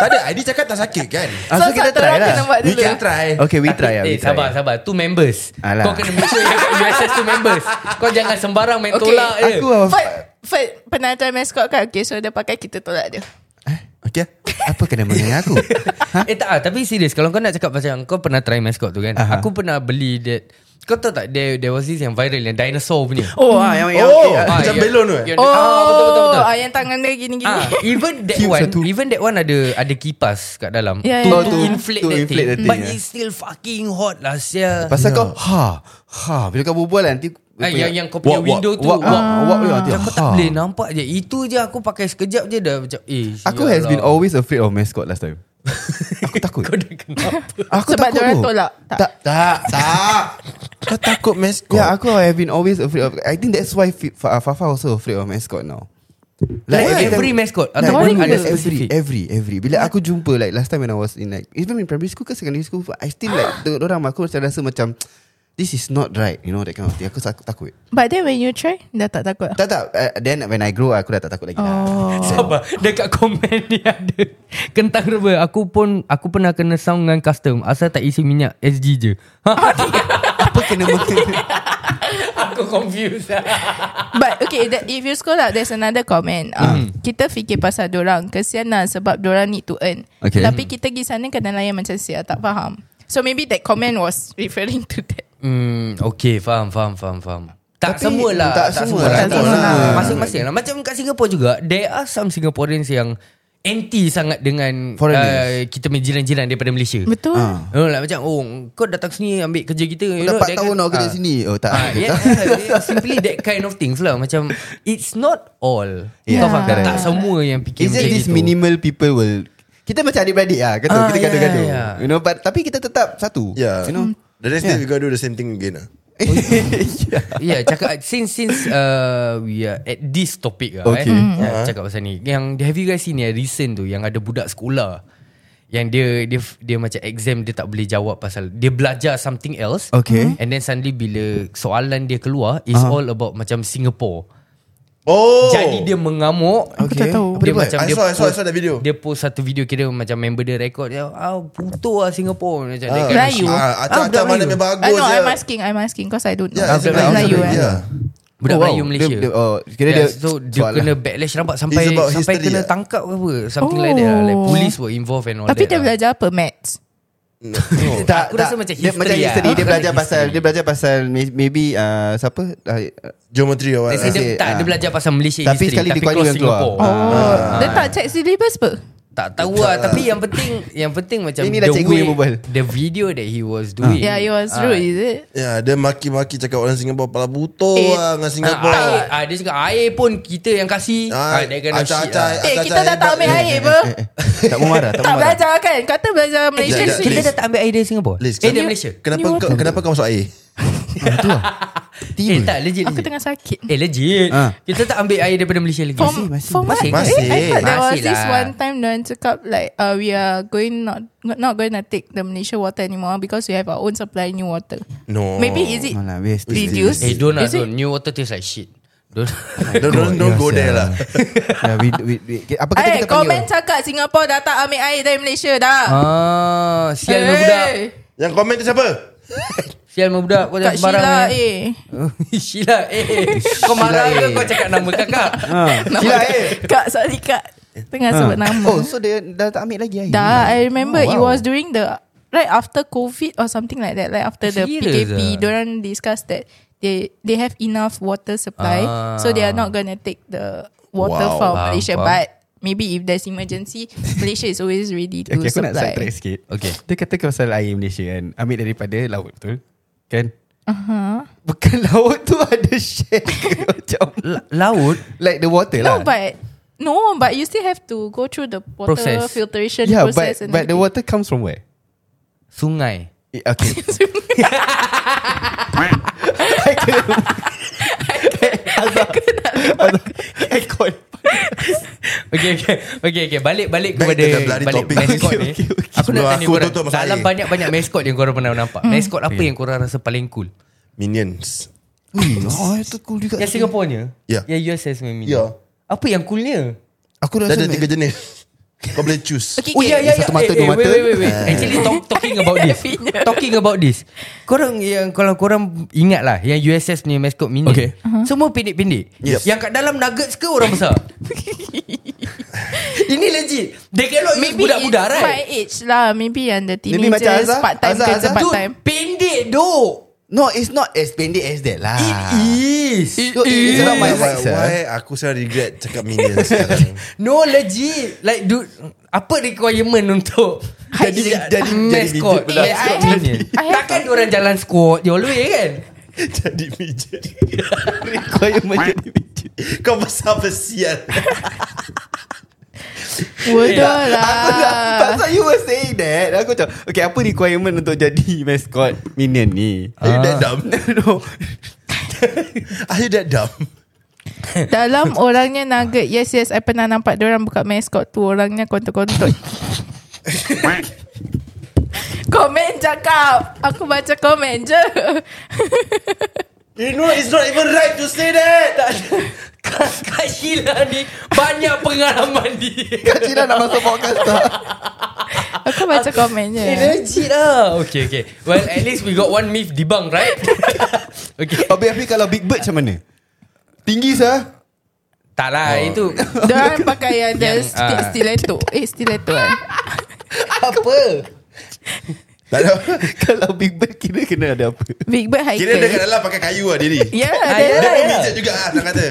S6: Tak ada, Aidi cakap tak sakit kan?
S4: So kita try lah kena buat
S6: We
S4: dulu
S6: can try.
S2: Okay we
S3: Tapi,
S2: try lah
S3: Eh
S2: we try.
S3: sabar sabar Two members
S2: Alah.
S3: Kau kena make sure yang kat USS two members Kau jangan sembarang main
S4: Okay.
S3: tolak eh. je
S2: Aku ah,
S4: Fat Fat Pernah try mascot kan Okay so dia pakai Kita tolak dia
S6: Okay.
S2: Eh, Apa kena mengenai aku
S3: Eh tak ah, Tapi serius Kalau kau nak cakap pasal Kau pernah try mascot tu kan
S2: Aha.
S3: Aku pernah beli that Kau tahu tak There, there was this yang viral Yang dinosaur punya
S2: Oh ah, yang, yang
S6: Oh,
S2: yang-
S6: macam
S3: yang-
S6: belon tu eh?
S3: yang-
S4: Oh
S3: ah, Betul betul betul
S4: ah, Yang tangan dia gini-gini
S3: Ah, even that
S2: Cute
S3: one,
S2: satu.
S3: even that one ada ada kipas kat dalam.
S4: Ya,
S3: to,
S4: ya,
S3: to,
S4: ya.
S3: inflate
S2: To
S3: that
S2: inflate
S3: thing.
S2: that thing,
S3: But
S2: ya.
S3: it's still fucking hot lah, sia.
S2: Pasal kau ha ha bila kau berbual nanti
S3: Ah, yang yang kau punya
S2: Walk,
S3: window
S2: walk,
S3: tu.
S2: walk walk walk dia nanti,
S3: Macam Aku tak
S2: ha.
S3: boleh nampak je. Itu je aku pakai sekejap je dah macam eh.
S2: Aku
S3: sialah.
S2: has been always afraid of mascot last time. aku takut.
S3: Kau dah kenapa?
S2: Aku
S4: Sebab
S2: takut.
S4: diorang
S2: tu.
S4: tolak. Tak.
S2: Tak.
S6: Tak, tak. Kau takut mascot.
S2: Ya, aku have been always afraid of. I think that's why Fi- Fa- Fafa also afraid of mascot now.
S3: Like every
S2: time-
S3: mascot
S2: like every,
S3: ataupun ada
S2: every,
S3: specific?
S2: every, every. Bila aku jumpa like last time when I was in like even in primary school ke secondary school, I still like the orang aku macam rasa macam this is not right, you know that kind of thing. Aku tak- takut.
S4: But then when you try Dah tak takut
S2: Tak tak. uh, Then when I grow aku dah tak takut lagi lah.
S3: Sabar Dekat komen ni ada Kentang rebel Aku pun Aku pernah kena sound dengan custom Asal tak isi minyak SG je
S2: Apa kena mungkin?
S3: Aku confused
S4: But okay that, If you scroll up There's another comment uh, Kita fikir pasal dorang Kesian lah Sebab dorang need to earn
S2: Okay.
S4: Tapi kita pergi sana Kena layan macam sia Tak faham So maybe that comment Was referring to that
S3: Hmm, okay, faham, faham, faham, faham. Tak
S2: Tapi
S3: semua lah
S2: tak semua lah,
S3: lah Tak
S2: tak
S3: semua lah
S2: semua.
S3: Masing-masing lah Macam kat Singapore juga There are some Singaporeans yang Anti sangat dengan uh,
S2: Foreigners.
S3: Kita punya jiran-jiran daripada Malaysia
S4: Betul
S2: Ah.
S3: Oh,
S4: uh.
S3: like, macam oh kau datang sini ambil kerja kita you
S2: Dah 4
S3: know, that
S2: tahun
S3: kind-
S2: nak kerja
S3: Ah.
S2: sini Oh tak
S3: Ah, yeah, yeah, simply that kind of things lah Macam It's not all yeah. Kau
S2: Yeah.
S3: faham
S2: Correct.
S3: tak? Tak semua yang fikir
S2: Is it
S3: macam
S2: this
S3: gitu.
S2: minimal people will Kita macam adik-beradik lah Kata
S3: Ah,
S2: kita
S3: yeah,
S2: gaduh-gaduh
S3: yeah.
S2: You know but Tapi kita tetap satu
S7: Ya.
S6: Yeah.
S2: You know
S6: Ya. The next day we gotta do the same thing again. ah.
S2: yeah.
S3: Yeah cakap Since since uh, We are at this topic lah
S2: Okay. Mm-hmm. Uh-huh.
S3: eh, uh Cakap pasal ni Yang have you guys seen yang recent tu Yang ada budak sekolah Yang dia Dia dia macam exam Dia tak boleh jawab pasal Dia belajar something else Mm-hmm.
S2: Okay. Uh-huh.
S3: And then suddenly bila Soalan dia keluar Is all about macam Singapore
S6: Oh.
S3: Jadi dia mengamuk
S4: Aku tak tahu
S2: Apa
S3: dia
S2: dia buat?
S3: macam
S6: I
S3: dia
S6: saw- I saw- I
S3: post-
S6: saw that video.
S3: Dia post satu video kira macam member dia record dia ah putu lah Singapore macam
S6: Ah,
S3: that kind of
S4: Melayu.
S2: Oh,
S3: shit.
S6: Ah,
S3: Ah, budak
S6: acah-acah mana
S3: Melayu.
S6: memang bagus. Ya,
S4: I know
S6: je.
S4: I'm asking I'm asking Cause I don't know
S6: Yeah, it's
S4: Budak
S6: about
S4: Melayu
S6: history,
S4: eh
S6: yeah.
S3: Budak
S2: Oh,
S3: oh,
S2: wow.
S3: Melayu Malaysia.
S2: Dia- dia- oh, kira
S3: yeah,
S2: dia lah.
S3: so dia
S2: soalan.
S3: kena backlash rabak sampai
S6: It's about
S3: sampai
S6: history,
S2: lah.
S3: kena
S6: ah.
S3: tangkap ke apa. Something like that. lah. Like
S4: Oh.
S3: police were involved and all
S4: Tapi dia
S3: that. lah.
S4: belajar apa Maths
S6: No.
S3: Tak, aku rasa macam
S2: dia,
S3: history
S2: macam
S3: lah.
S2: history dia
S3: Bukan
S2: belajar
S3: history.
S2: pasal dia belajar pasal may- maybe uh, siapa uh,
S6: Geometry or
S3: They
S6: what.
S3: say dia,
S2: Asyik,
S3: tak, dia
S2: ah.
S3: belajar pasal Malaysia
S2: Tapi
S3: history
S2: sekali
S3: Tapi
S2: dia kuali
S3: kalau
S2: yang keluar.
S3: Singapore
S4: Oh Dia tak check syllabus apa
S3: Tak tahu lah Tapi yang penting Yang penting macam
S2: Inilah
S3: the
S2: cikgu
S3: way-
S2: yang berbual.
S3: The video that he was doing
S4: Yeah it was
S3: ah,
S4: rude is it
S6: Ya, dia maki-maki cakap orang Singapura pala buto
S4: Eh,
S6: lah dengan Singapura.
S3: Ah, air, ah, dia cakap air pun kita yang kasih. Ah, that kind of
S6: acah-
S3: shit lah.
S6: acah-
S4: Eh
S6: acah-
S4: kita dah
S6: acah-
S4: tak ambil air apa
S2: eh, tak mau marah tak
S4: Tak
S2: mau marah
S4: belajar kan Kata belajar Malaysia
S6: Jap, jap,
S4: Kita
S6: please.
S3: dah tak ambil air dari Singapore.
S6: Liz,
S3: eh, dari Malaysia.
S6: Kenapa kau, kenapa kau masuk air?
S3: Eh, tak, legit.
S4: Aku
S3: legit.
S4: tengah sakit
S3: Eh, legit.
S2: Ah.
S3: Kita tak ambil air daripada Malaysia lagi.
S4: From, from what?
S3: Masih,
S6: masih.
S4: Eh, I thought there was
S3: Masih
S4: this
S3: lah.
S4: one time Diorang cakap like uh, We are going not Not going to take The Malaysia water anymore Because we have our own supply New water
S6: No.
S4: Maybe is it
S2: Malah waste
S4: Reduced
S3: Eh, don't lah,
S4: Is it-
S3: don't. New water tastes like shit. Don't.
S6: Don't, Eh, don't, don't go there lah.
S2: yeah, Ya, we, we, we, apa kata
S4: Eh,
S2: kita
S4: komen
S2: panggil
S4: cakap Singapore dah tak ambil air dari Malaysia dah.
S3: ah, sial hey.
S4: Eh,
S3: budak.
S6: Yang komen tu siapa?
S3: Sial dengan budak. Kau
S4: Kat
S3: jangan sembarang.
S4: Sheila
S3: eh.
S4: eh.
S3: Sheila, eh. Ah. Kau marah
S2: Sheila,
S3: ke
S2: eh.
S3: kau cakap nama kakak?
S2: Sila eh
S4: Kak, sorry Kak.
S3: Ah.
S4: Tengah sebut nama.
S2: Oh so dia dah tak ambil lagi air
S4: Dah, I remember
S2: Oh,
S4: it
S2: wow.
S4: was during the right after COVID or something like that. Like after the
S3: Serious ah?
S4: PKP, diorang discuss that they they have enough water supply,
S3: Ah.
S4: so they are not gonna take the water
S6: Wow.
S4: from
S3: Faham,
S4: Malaysia.
S3: faham.
S4: But maybe if there's emergency, Malaysia is always ready to
S7: Okay, aku nak
S4: supply.
S7: sidetrack sikit.
S3: Okay.
S7: Dia kata kau pasal air Malaysia kan. Ambil daripada laut, betul? Kan? Uh-huh. Bukan laut tu ada share ke? macam
S3: La- Laut?
S7: like the water
S4: no,
S7: lah.
S4: but no, but you still have to go through the water
S3: Process.
S4: filtration
S7: yeah, but
S4: process. and
S7: but the
S4: everything.
S7: water comes from where?
S3: Sungai.
S7: Eh, Okay. Aircon.
S3: Okay, okay, okay, okay. Balik balik
S6: Back
S3: kepada
S6: to the bloody
S3: balik
S6: topic.
S3: mascot
S6: Okay,
S3: ni.
S6: okay,
S3: Aku nak
S6: okay. Sebelum
S3: tanya
S6: aku
S3: korang.
S6: tutup pasal
S3: Dalam
S6: air.
S3: banyak-banyak mascot yang korang pernah nampak. Mascot apa yang korang rasa paling cool?
S6: Minions.
S7: Hmm,
S2: Oh itu cool juga
S3: Yang Singaporenya?
S6: Ya.
S3: Yang USS memang.
S6: Ya.
S3: Apa yang coolnya?
S2: Aku
S6: Dah
S2: rasa
S6: ada tiga jenis. Kau boleh choose.
S4: Okay,
S3: Oh
S4: okay.
S3: ya ya ya.
S2: Satu mata,
S3: Eh,
S2: dua
S3: eh,
S2: mata.
S3: Wait wait wait. Actually talk, talking about this. talking about this. Korang yang kalau korang ingat lah yang USS ni mascot mini. Uh-huh.
S7: Okay.
S3: Semua pendek-pendek.
S6: Yes.
S3: Yang kat dalam nuggets ke orang besar? Ini legit. They cannot use
S4: Maybe
S3: budak-budak
S4: it's
S3: right?
S4: my age lah Maybe yang the
S2: Maybe macam
S4: teenagers
S2: Azhar.
S4: Part time
S2: Azhar,
S4: kerja
S2: Azhar.
S4: part
S3: Dude,
S4: time
S3: pendek doh.
S2: No it's not as pendek as that lah
S3: It is.
S2: So, it's around my height
S6: Eh, Why, why,
S2: sir
S6: why aku sekarang regret cakap minions sekarang.
S3: No legit. Like dude, apa requirement untuk jadi
S2: Jadi- jadi- jadi
S3: mascot?
S2: midget pula.
S3: Eh, I
S4: Mascot
S3: have-
S4: mini. I have-
S3: Takkan orang jalan squat the whole way kan?
S6: Jadi midget.
S7: Kau yang menjadi midget.
S6: Kau besar bersial.
S4: Bodoh
S2: Ya,
S7: Aku tak
S4: lah
S7: Pasal you were saying that Aku macam Okay apa requirement Untuk jadi mascot Minion ni Eh,
S2: Ah.
S6: Are you that dumb?
S7: No
S6: Ah. Are you that dumb?
S4: Dalam orangnya nugget Yes yes I pernah nampak Diorang buka mascot tu Orangnya kontot-kontot Komen cakap Aku baca komen je
S6: You know it's not even right to say that.
S3: Kak Kak Sheila ni banyak pengalaman dia.
S2: Kak Cina nak masuk podcast tak
S4: Aku baca komen je
S3: Eh, Legit lah Okay okay Well at least we got one myth debunk right Okay
S2: Habis-habis kalau Big Bird macam mana? Tinggi sah
S3: Tak lah oh. itu
S4: Dia pakai yang dia sti- stiletto Eh stiletto eh
S3: Apa
S6: Tak ada
S2: Kalau Big Bird kira kena ada apa?
S4: Big Bird hiker
S6: Kira dia kat dalam pakai kayu lah diri
S4: Ya
S3: Ah,
S6: Dia
S4: dia
S6: pun bijak juga lah Tak kata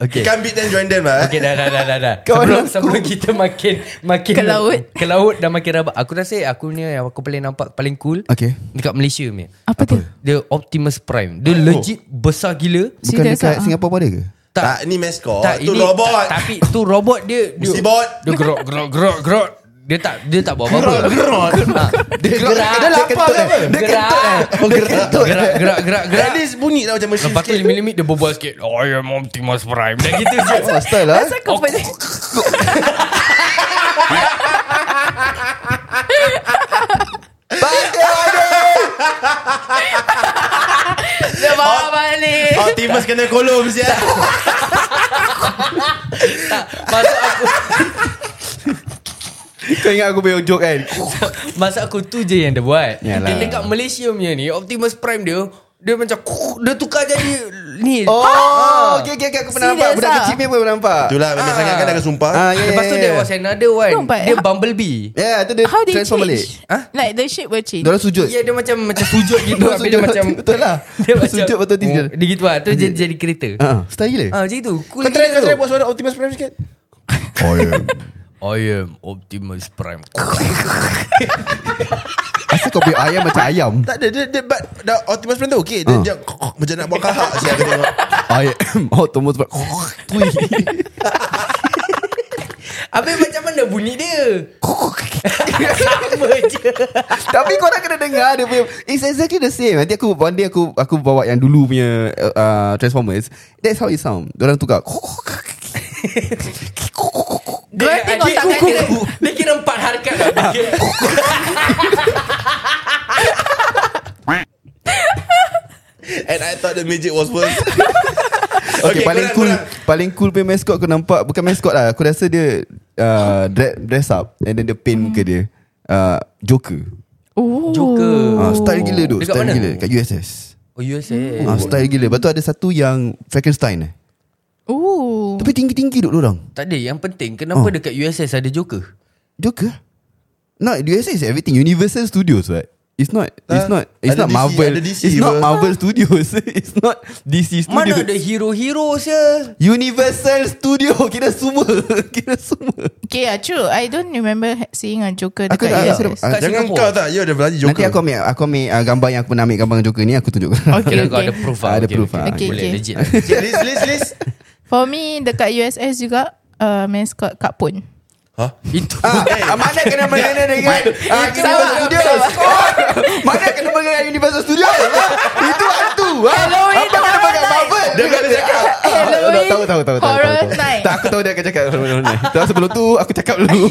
S3: Okay
S6: Can't beat them join them lah
S3: Okay dah dah dah dah, dah.
S2: Kawan
S3: Sebelum,
S2: aku.
S3: sebelum kita makin makin
S4: Ke laut.
S3: Ke laut dan makin rabak Aku rasa aku ni yang aku paling nampak paling cool
S2: Okay.
S3: Dekat Malaysia ni
S4: Apa tu?
S3: Dia Optimus Prime Dia legit besar gila
S2: Bukan
S4: Serious
S2: dekat
S4: ah?
S2: Singapura pun ada ke?
S6: Tak ni mascot
S3: tak, oh,
S6: Tu
S3: ini-
S6: robot
S3: ta- Tapi tu robot dia dia,
S6: Mesti bot.
S3: Dia gerok gerok gerok gerok Dia tak dia tak buat apa-apa
S6: Gerot
S3: Ha. Dia gerak
S2: Dia lapar ke apa?
S3: Dia kentut eh
S2: Oh,
S3: Gerak Gerak gerak gerak
S6: At
S3: gerak
S6: least bunyi tau macam mesin
S3: Lepas tu limit-limit dia berbual sikit I am Optimus Prime Dah gitu je
S2: Oh, style
S3: eh?
S2: lah
S4: Asal kau boleh Dia bawa balik
S6: Optimus kena kolom siap
S3: Masa aku
S2: Kau ingat aku punya joke kan?
S3: Masa aku tu je yang dia buat
S2: Yalah.
S3: Dia dekat Malaysia punya ni Optimus Prime dia Dia macam Dia tukar jadi Ni
S2: Oh, okay, okay, okay. Aku pernah nampak.
S4: Serious
S2: Budak
S4: ah?
S2: kecil punya pun pernah nampak.
S6: Itulah memang sangat kan Akan sumpah
S2: Ah, yeah,
S3: Lepas tu
S2: yeah,
S3: there
S2: yeah.
S3: was another
S4: No,
S3: one
S4: but
S3: Dia
S4: how-
S3: Bumblebee
S2: Yeah, tu dia
S4: How they
S2: transform balik.
S4: change
S3: Huh?
S4: Like the shape will change
S2: Dia orang sujud.
S3: Ya dia macam Macam sujud gitu
S2: Dorang
S3: Habis dia
S2: sujud,
S3: macam
S2: Betul lah.
S3: Dia macam
S2: Sujud betul tidur.
S3: Dia gitu lah Tu jadi, jadi kereta
S2: Ha, style gila.
S3: Ah macam itu Cool
S6: Kau try
S3: gila
S6: Kau
S3: tu.
S6: try buat suara Optimus Prime sikit
S3: I am Optimus Prime
S2: Asal kau punya ayam macam ayam.
S6: Tak ada dia, dia, but, dah, Optimus Prime tu okay Dia,
S2: Ah.
S6: dia macam nak buat kahak siap Aku tengok
S2: Ayam. Oh, tomo sebab.
S3: Habis macam mana bunyi dia Sama je
S2: Tapi korang kena dengar dia punya It's exactly the same Nanti aku One day aku Aku bawa yang dulu punya uh, uh, Transformers That's how it sound Diorang tukar
S3: Dia,
S4: Kau tengok
S3: dia,
S4: tangan
S3: kira, dia kira empat harkat lah. Dia kira-
S6: And I thought the magic was worse
S2: Okay, okay paling
S6: korang-
S2: cool
S6: korang-
S2: Paling cool punya mascot Aku nampak Bukan mascot lah Aku rasa dia uh, dress, dress up And then dia paint muka dia uh, Joker
S4: Oh
S3: Joker.
S2: uh, Style gila tu
S3: Dekat
S2: Style
S3: mana?
S2: gila Kat USS
S3: Oh USA
S2: uh, Style gila Lepas tu ada satu yang Frankenstein eh.
S4: Oh
S2: Tapi tinggi-tinggi duk orang
S3: Tak ada yang penting Kenapa
S2: Oh.
S3: dekat USS ada Joker
S2: Joker No USS is everything Universal Studios right It's not It's
S6: Ah,
S2: not It's not
S6: ada DC,
S2: Marvel
S6: ada DC
S2: It's not
S6: apa?
S2: Marvel Studios It's not DC Studios
S3: Mana ada hero-hero saya
S2: Universal Studio Kira semua Kira semua
S4: Okay yeah, true I don't remember Seeing a Joker
S2: Aku
S4: dekat
S2: tak-
S4: US.
S2: aku tak-
S3: Kat
S6: Jangan
S3: Singapore.
S6: kau tak You ada belanja Joker
S2: Nanti aku ambil Aku ambil uh, gambar yang aku pernah ambil Gambar Joker ni Aku tunjuk
S4: Okay,
S3: Kira kau
S4: okay.
S3: ada proof
S2: Ah,
S3: lah
S2: ada proof lah.
S4: Okay,
S3: Boleh
S4: okay.
S3: legit lah
S6: List list list
S4: For me Dekat USS juga uh, Mascot Kak Pun
S6: Hah?
S3: Itu
S6: eh.
S2: Ah, mana kena mengenai dengan ah, Universal
S4: sama,
S2: Studios oh, Mana kena mengenai dengan Universal Studios ah? Itu hantu ah.
S4: Halloween
S2: Apa kena
S4: Horror
S2: mengenai
S4: Night.
S2: Marvel
S6: Dia kena cakap
S4: Halloween
S2: Tahu tahu tahu tahu
S4: eh. Horror
S2: tahu, tahu.
S4: Night.
S2: Tak aku tahu dia akan cakap Horror Night Tahu sebelum tu Aku cakap dulu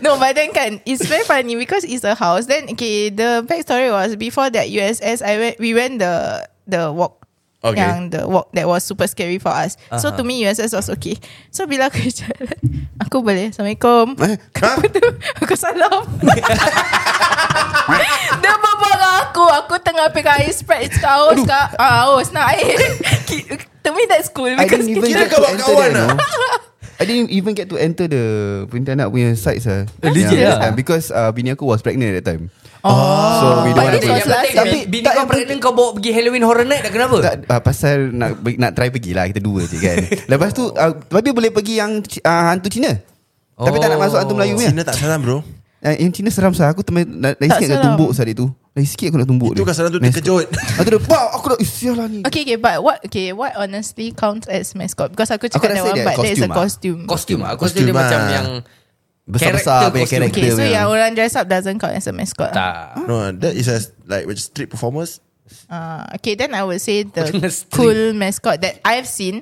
S4: No but then kan It's very funny Because it's a house Then okay The backstory was Before that USS I went We went the The walk
S6: Okay. Uh-huh.
S4: Yang the walk That was super scary for us So to me USS was okay So bila aku jalan Aku boleh Assalamualaikum
S6: Hah?
S4: Aku salam Dia berbarang aku Aku tengah pegang air spread Dia cakap Aus kak ah, Aus nak air Ki- To me that's cool
S2: I
S4: Because
S2: didn't even
S6: Kira
S2: get
S6: kau
S2: to
S6: bawa
S2: enter
S6: kawan
S2: there,
S6: ah?
S2: no? I didn't even get to enter the Pontianak punya sites ah.
S3: legit
S2: Yeah,
S3: ah?
S2: that time. Because uh, bini aku was pregnant at that time.
S4: Oh
S2: So we don't
S4: But
S2: want
S4: this
S2: to.
S4: was last
S2: Tapi
S4: year.
S3: Bini
S2: tak
S3: kau
S2: yang
S3: pregnant kau bawa pergi Halloween Horror Night dah kenapa?
S2: tak uh, pasal nak nak try pergi lah kita dua je kan. Lepas tu uh, tapi boleh pergi yang uh, hantu Cina. Oh. Tapi tak nak masuk hantu Melayu punya.
S6: Cina tak salam bro
S2: Uh, yang Cina seram sah aku teman lagi
S4: Tak
S2: sikit aku
S4: seram.
S2: tumbuk sah dia tu. Lagi sikit aku nak tumbuk
S6: Itu
S2: dia.
S6: kasar tu
S2: Nice.
S6: terkejut
S2: Lepas tu dia pau aku dah sial lah ni.
S4: Okay, okay, but what? Okay, what honestly counts as mascot? Because aku
S2: Aku
S4: cakap that
S2: rasa
S4: one,
S2: dia
S4: but that is a
S2: costume
S4: costume.
S3: Kostum Aku rasa
S6: Kostum
S3: dia
S6: lah.
S3: macam yang
S2: Besar-besar punya
S3: Character costume.
S2: karakter.
S4: Okay, so
S2: punya.
S4: yang orang dress up doesn't count as a mascot.
S3: Tak
S6: No that is a Like macam street performers
S4: Ah, okay, then I would say the
S3: Orang street.
S4: cool mascot that I've seen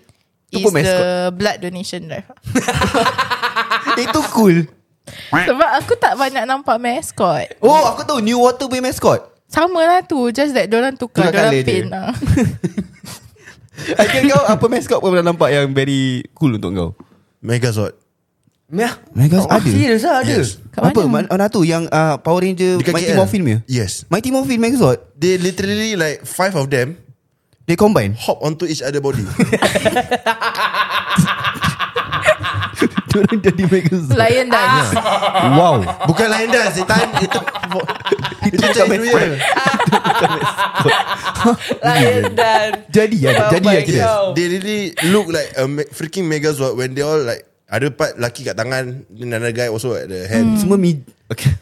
S2: Tu
S4: is
S2: pun
S4: the blood donation drive.
S2: Itu cool.
S4: Sebab aku tak banyak nampak mascot.
S2: Oh, aku tahu New Water punya mascot.
S4: Sama lah tu, just that diorang tukar,
S2: Tukar
S4: diorang
S2: colour je.
S4: paint lah.
S2: Akhirnya kau apa mascot pun pernah nampak yang very cool untuk kau?
S6: Megazord
S3: Ya.
S2: Megas ada
S3: Serius lah ada.
S6: Yes.
S4: Oh, Kat
S2: Apa
S4: mana?
S2: mana, mana tu Yang uh, Power Ranger
S6: Dekat
S2: Mighty
S6: KL.
S2: Morphin punya
S6: Yes.
S2: Mighty Morphin Megazord
S6: They literally like five of them
S2: They combine
S6: hop onto each other body.
S2: Diorang jadi Megazord
S4: Lion dance
S3: Ah.
S2: Wow
S6: Bukan lain dah setan itu itu cari duit.
S3: Lion dan
S2: Jadi ya
S3: Oh
S2: Jadi
S3: my
S6: Eh,
S2: ya kita
S3: God.
S6: They really look like a me- freaking megazord when they all like ada part laki kat tangan then another guy also at the hand.
S2: Semua mi Okay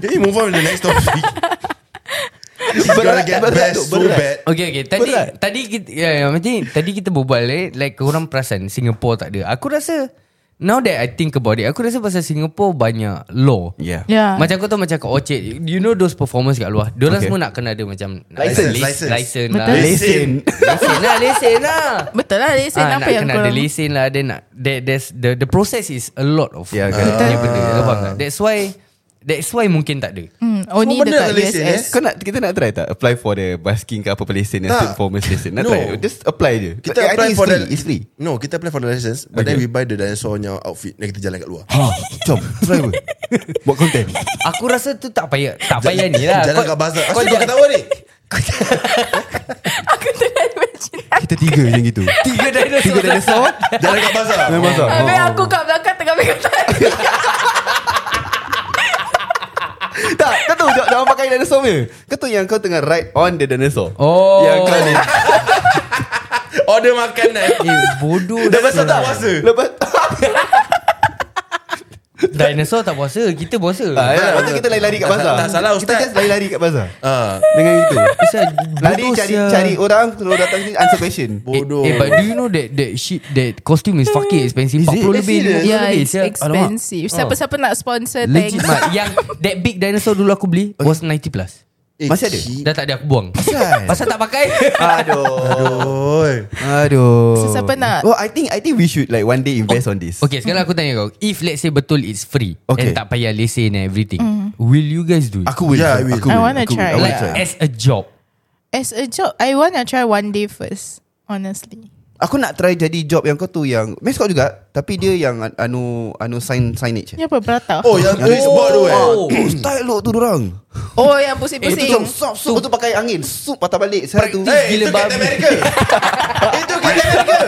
S6: Can you move on to the next topic? This is gonna
S2: Berat,
S6: get
S2: berat
S6: best
S2: tu,
S6: so
S2: berat.
S6: bad.
S3: Okay okay Tadi
S2: Berat.
S3: Tadi kita ya, ya, macam, Tadi kita berbual eh, Like korang perasan Singapore tak ada Aku rasa Now that I think about it Aku rasa pasal Singapore Banyak law
S2: Yeah
S4: Yeah
S3: Macam kau tahu macam kat Orchard You know those performance kat luar Diorang
S2: Okay.
S3: semua nak kena ada macam
S6: License, license.
S3: License License lah
S4: Betul.
S2: Lesen
S3: Lesen lah Lesen lah
S4: Betul lah Lesen
S3: Ah,
S4: apa
S3: nak
S4: yang
S3: kena
S4: korang
S3: ada lesen lah Then nak there, there's, the, the process is a lot of
S2: Yeah,
S3: uh,
S2: correct.
S3: punya benda, kau faham tak? That's why That's why mungkin tak ada
S4: hmm, Only
S6: Semua benda
S4: dekat
S6: ada lesen,
S4: USS
S6: eh?
S2: Kau nak Kita nak try tak Apply for the Busking ke apa Lesen
S6: Tak.
S2: State performance lesen Nak
S6: No.
S2: try Just apply je
S6: Kita
S2: I think
S6: apply
S2: it's
S6: for
S2: free,
S6: the
S2: It's free
S6: No, kita apply for the license,
S2: Okay.
S6: but then we buy the dinosaur punya outfit, then kita jalan kat luar.
S2: Ha Jom Try pun Buat content
S3: Aku rasa tu tak payah Tak payah ni lah
S6: Jalan
S3: Kau-
S6: kat bazar.
S3: kau
S6: Asal kau
S3: jalan-
S6: ketawa ni?
S4: Aku tak nak imagine
S2: Kita tiga macam gitu
S3: Tiga dinosaur Tiga dinosaur
S6: Jalan kat bazar.
S2: Memang masak
S3: Oh.
S4: Habis aku kat belakang Tengah pegang tali
S2: Tak Kau tahu jawab- Jangan pakai dinosaur punya Kau tahu yang kau tengah ride On the dinosaur
S3: Oh
S2: Yang kau ni
S6: Order makanan.
S3: Eh bodoh
S6: Dah pasal tak puasa.
S2: Hmm. Lepas ah, ya,
S3: Dinosaur tak puasa Kita puasa
S2: Ah, ya, Lepas tu kita lari-lari kat
S6: Tak-
S2: pasar
S6: tak salah,
S2: Kita
S6: Ustaz.
S2: just lari-lari kat pasar
S6: Ah.
S2: Dengan itu
S3: Pasal
S2: Lari
S3: bodoh
S2: cari
S3: sia.
S2: cari orang Kalau datang sini answer question
S6: Bodoh.
S3: Eh, eh but do you know that that shit that costume is fucking expensive
S2: Hmm. Is it?
S3: 40 lebih
S2: Serious?
S3: 50
S4: Yeah
S3: lebih
S4: it's
S3: sia.
S4: expensive
S3: Alamak.
S4: Siapa-siapa nak sponsor
S3: Oh. Legit
S4: Thanks
S3: mat Yang that big dinosaur dulu aku beli Was 90 plus
S6: Eh,
S2: Masih ada?
S6: ki-
S3: Dah tak ada aku buang
S2: Asal?
S3: Pasal tak pakai
S2: Aduh
S6: Oi.
S2: Aduh
S4: So, siapa nak?
S2: Oh
S4: Oh,
S2: I think I think we should like One day invest on this
S3: Okay sekarang aku tanya kau If let's say betul it's free
S2: Okay.
S3: And tak payah lesen and everything
S4: Mhm.
S3: Will you guys do it?
S2: Aku will
S6: Yeah, I will.
S2: Aku will.
S4: I wanna
S2: Aku will.
S4: try.
S2: I wanna
S3: like
S2: try
S3: as a job
S4: As a job I wanna try one day first Honestly
S2: Aku nak try jadi job yang kau tu yang Mes kau juga Tapi dia yang an- anu anu sign signage
S4: Ni apa Prata
S6: Oh, yang tulis board tu eh.
S2: Oh, style lo tu orang.
S4: Oh
S2: Eh,
S4: yang
S2: tu
S4: pusing-pusing
S2: jom sup sup tu pakai angin, sup patah balik. Eh, Saya tu.
S6: Eh, itu Captain America. Itu Captain America.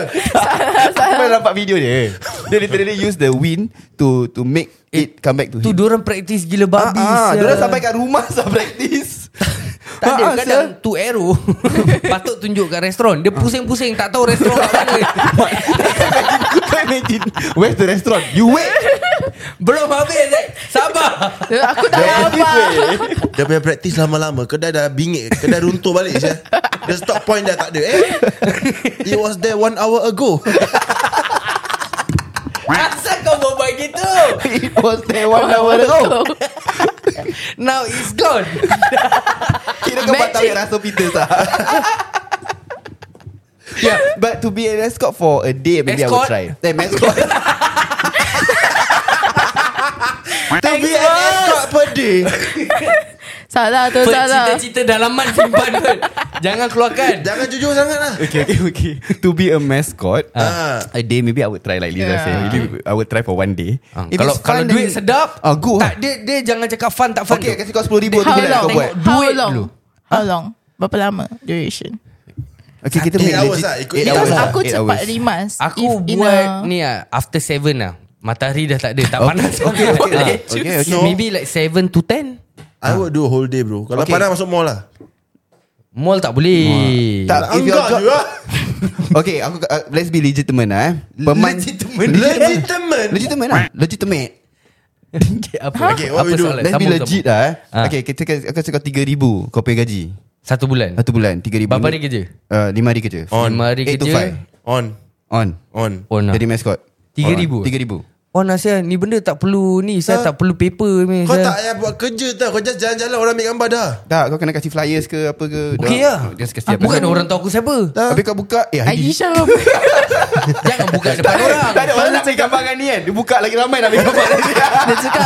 S2: Aku pernah nampak video dia Dia literally use the wind To to make
S4: Eh,
S2: it come back to
S3: Tu
S2: him
S3: dorang practice gila babi
S2: Ah, ah,
S3: sia.
S2: Diorang sampai kat rumah Sampai practice
S3: ya. Tak ada
S2: Ah, ah,
S3: kadang
S2: sia.
S3: tu arrow Patut tunjuk kat restoran Dia pusing-pusing Tak tahu restoran kat mana
S2: Kau imagine Where's the restaurant You wait
S3: Belum habis eh. Sabar
S4: Aku tak apa
S6: Dia punya praktis lama-lama Kedai dah bingit Kedai runtuh balik je The stock point dah tak ada Eh It was there one hour ago
S3: Asal kau berbual gitu
S2: It was there one
S3: Oh,
S2: hour ago
S3: Now it's gone
S2: Kira kau patah yang rasa Peter tak Yeah But to be an escort for a day Maybe
S3: Escort?
S2: I would try Eh escort To be an escort per day
S4: Salah tu salah
S3: Cita-cita dalaman simpan kot. Jangan keluarkan
S6: Jangan jujur sangat lah
S2: Okay, okay, okay. to be a mascot, uh,
S6: Ah.
S2: a day maybe I would try like Liza
S4: Yeah.
S2: said. Maybe I would try for one day.
S3: Ah,
S2: If
S3: Kalau
S2: it's
S3: kalau
S2: fun,
S3: duit
S2: then-
S3: sedap
S2: Ah, go.
S3: tak, dia, dia jangan cakap fun tak fun
S2: okay,
S3: tu.
S2: kasi kau sepuluh ribu tu
S4: How
S2: bulan kau
S4: long
S2: buat.
S4: How
S3: Duit
S4: long
S3: dulu.
S4: How long Berapa lama Duration
S2: Okay, kita
S6: Eight
S2: make
S6: hours
S2: legit-
S6: lah, ikut
S2: eight
S6: eight
S4: Because
S2: hours lah,
S4: aku
S2: eight
S4: cepat
S2: hours.
S4: rimas
S3: Aku
S4: If in
S3: buat
S4: a-
S3: ni lah After seven lah Matahari dah tak ada Tak panas
S2: okay,
S3: sangat.
S2: okay,
S3: Ah.
S2: okay, okay, okay.
S3: So, Maybe like seven to ten
S6: I would do a whole day bro Kalau
S2: Okay.
S6: panas masuk mall lah
S3: Mall tak boleh
S2: Tak, if your
S6: Angkat
S2: job,
S6: je lah
S2: okay, aku, uh, let's be legitimate lah eh. Peman,
S3: Legitimate.
S6: Legitimate.
S2: Legitimate lah. Legitimate.
S3: Okay, apa?
S6: Okay, what we do?
S3: soalan?
S2: Let's be
S3: Sambung,
S2: legit
S3: sambung.
S2: lah eh.
S3: Ah.
S2: Okay, kita aku cakap 3,000 kau pay gaji.
S3: Satu bulan.
S2: Satu bulan, 3,000.
S3: Berapa hari kerja?
S2: Uh, lima hari kerja.
S6: On.
S3: Lima hari
S2: Eight to
S3: kerja.
S2: five.
S6: On
S2: On.
S6: On
S3: Oh, nah.
S2: Jadi mascot.
S3: Tiga ribu?
S2: Tiga ribu.
S3: Oh Nasir ni benda tak perlu ni Saya
S6: Tak.
S3: tak perlu paper ni
S6: Kau
S3: saya.
S6: tak payah buat kerja tau Kau just jalan-jalan Orang ambil gambar dah
S2: Tak, kau kena kasih flyers ke apa ke.
S3: Okay
S2: Dah-
S3: lah
S2: Just kasih apa.
S3: Bukan orang tahu aku siapa
S2: Habis kau buka Eh Heidi
S4: Aisyah
S3: Jangan buka depan orang
S2: Tak ada orang cari gambar dengan ni kan Dia buka lagi ramai nak ambil gambar lagi
S4: Dia cakap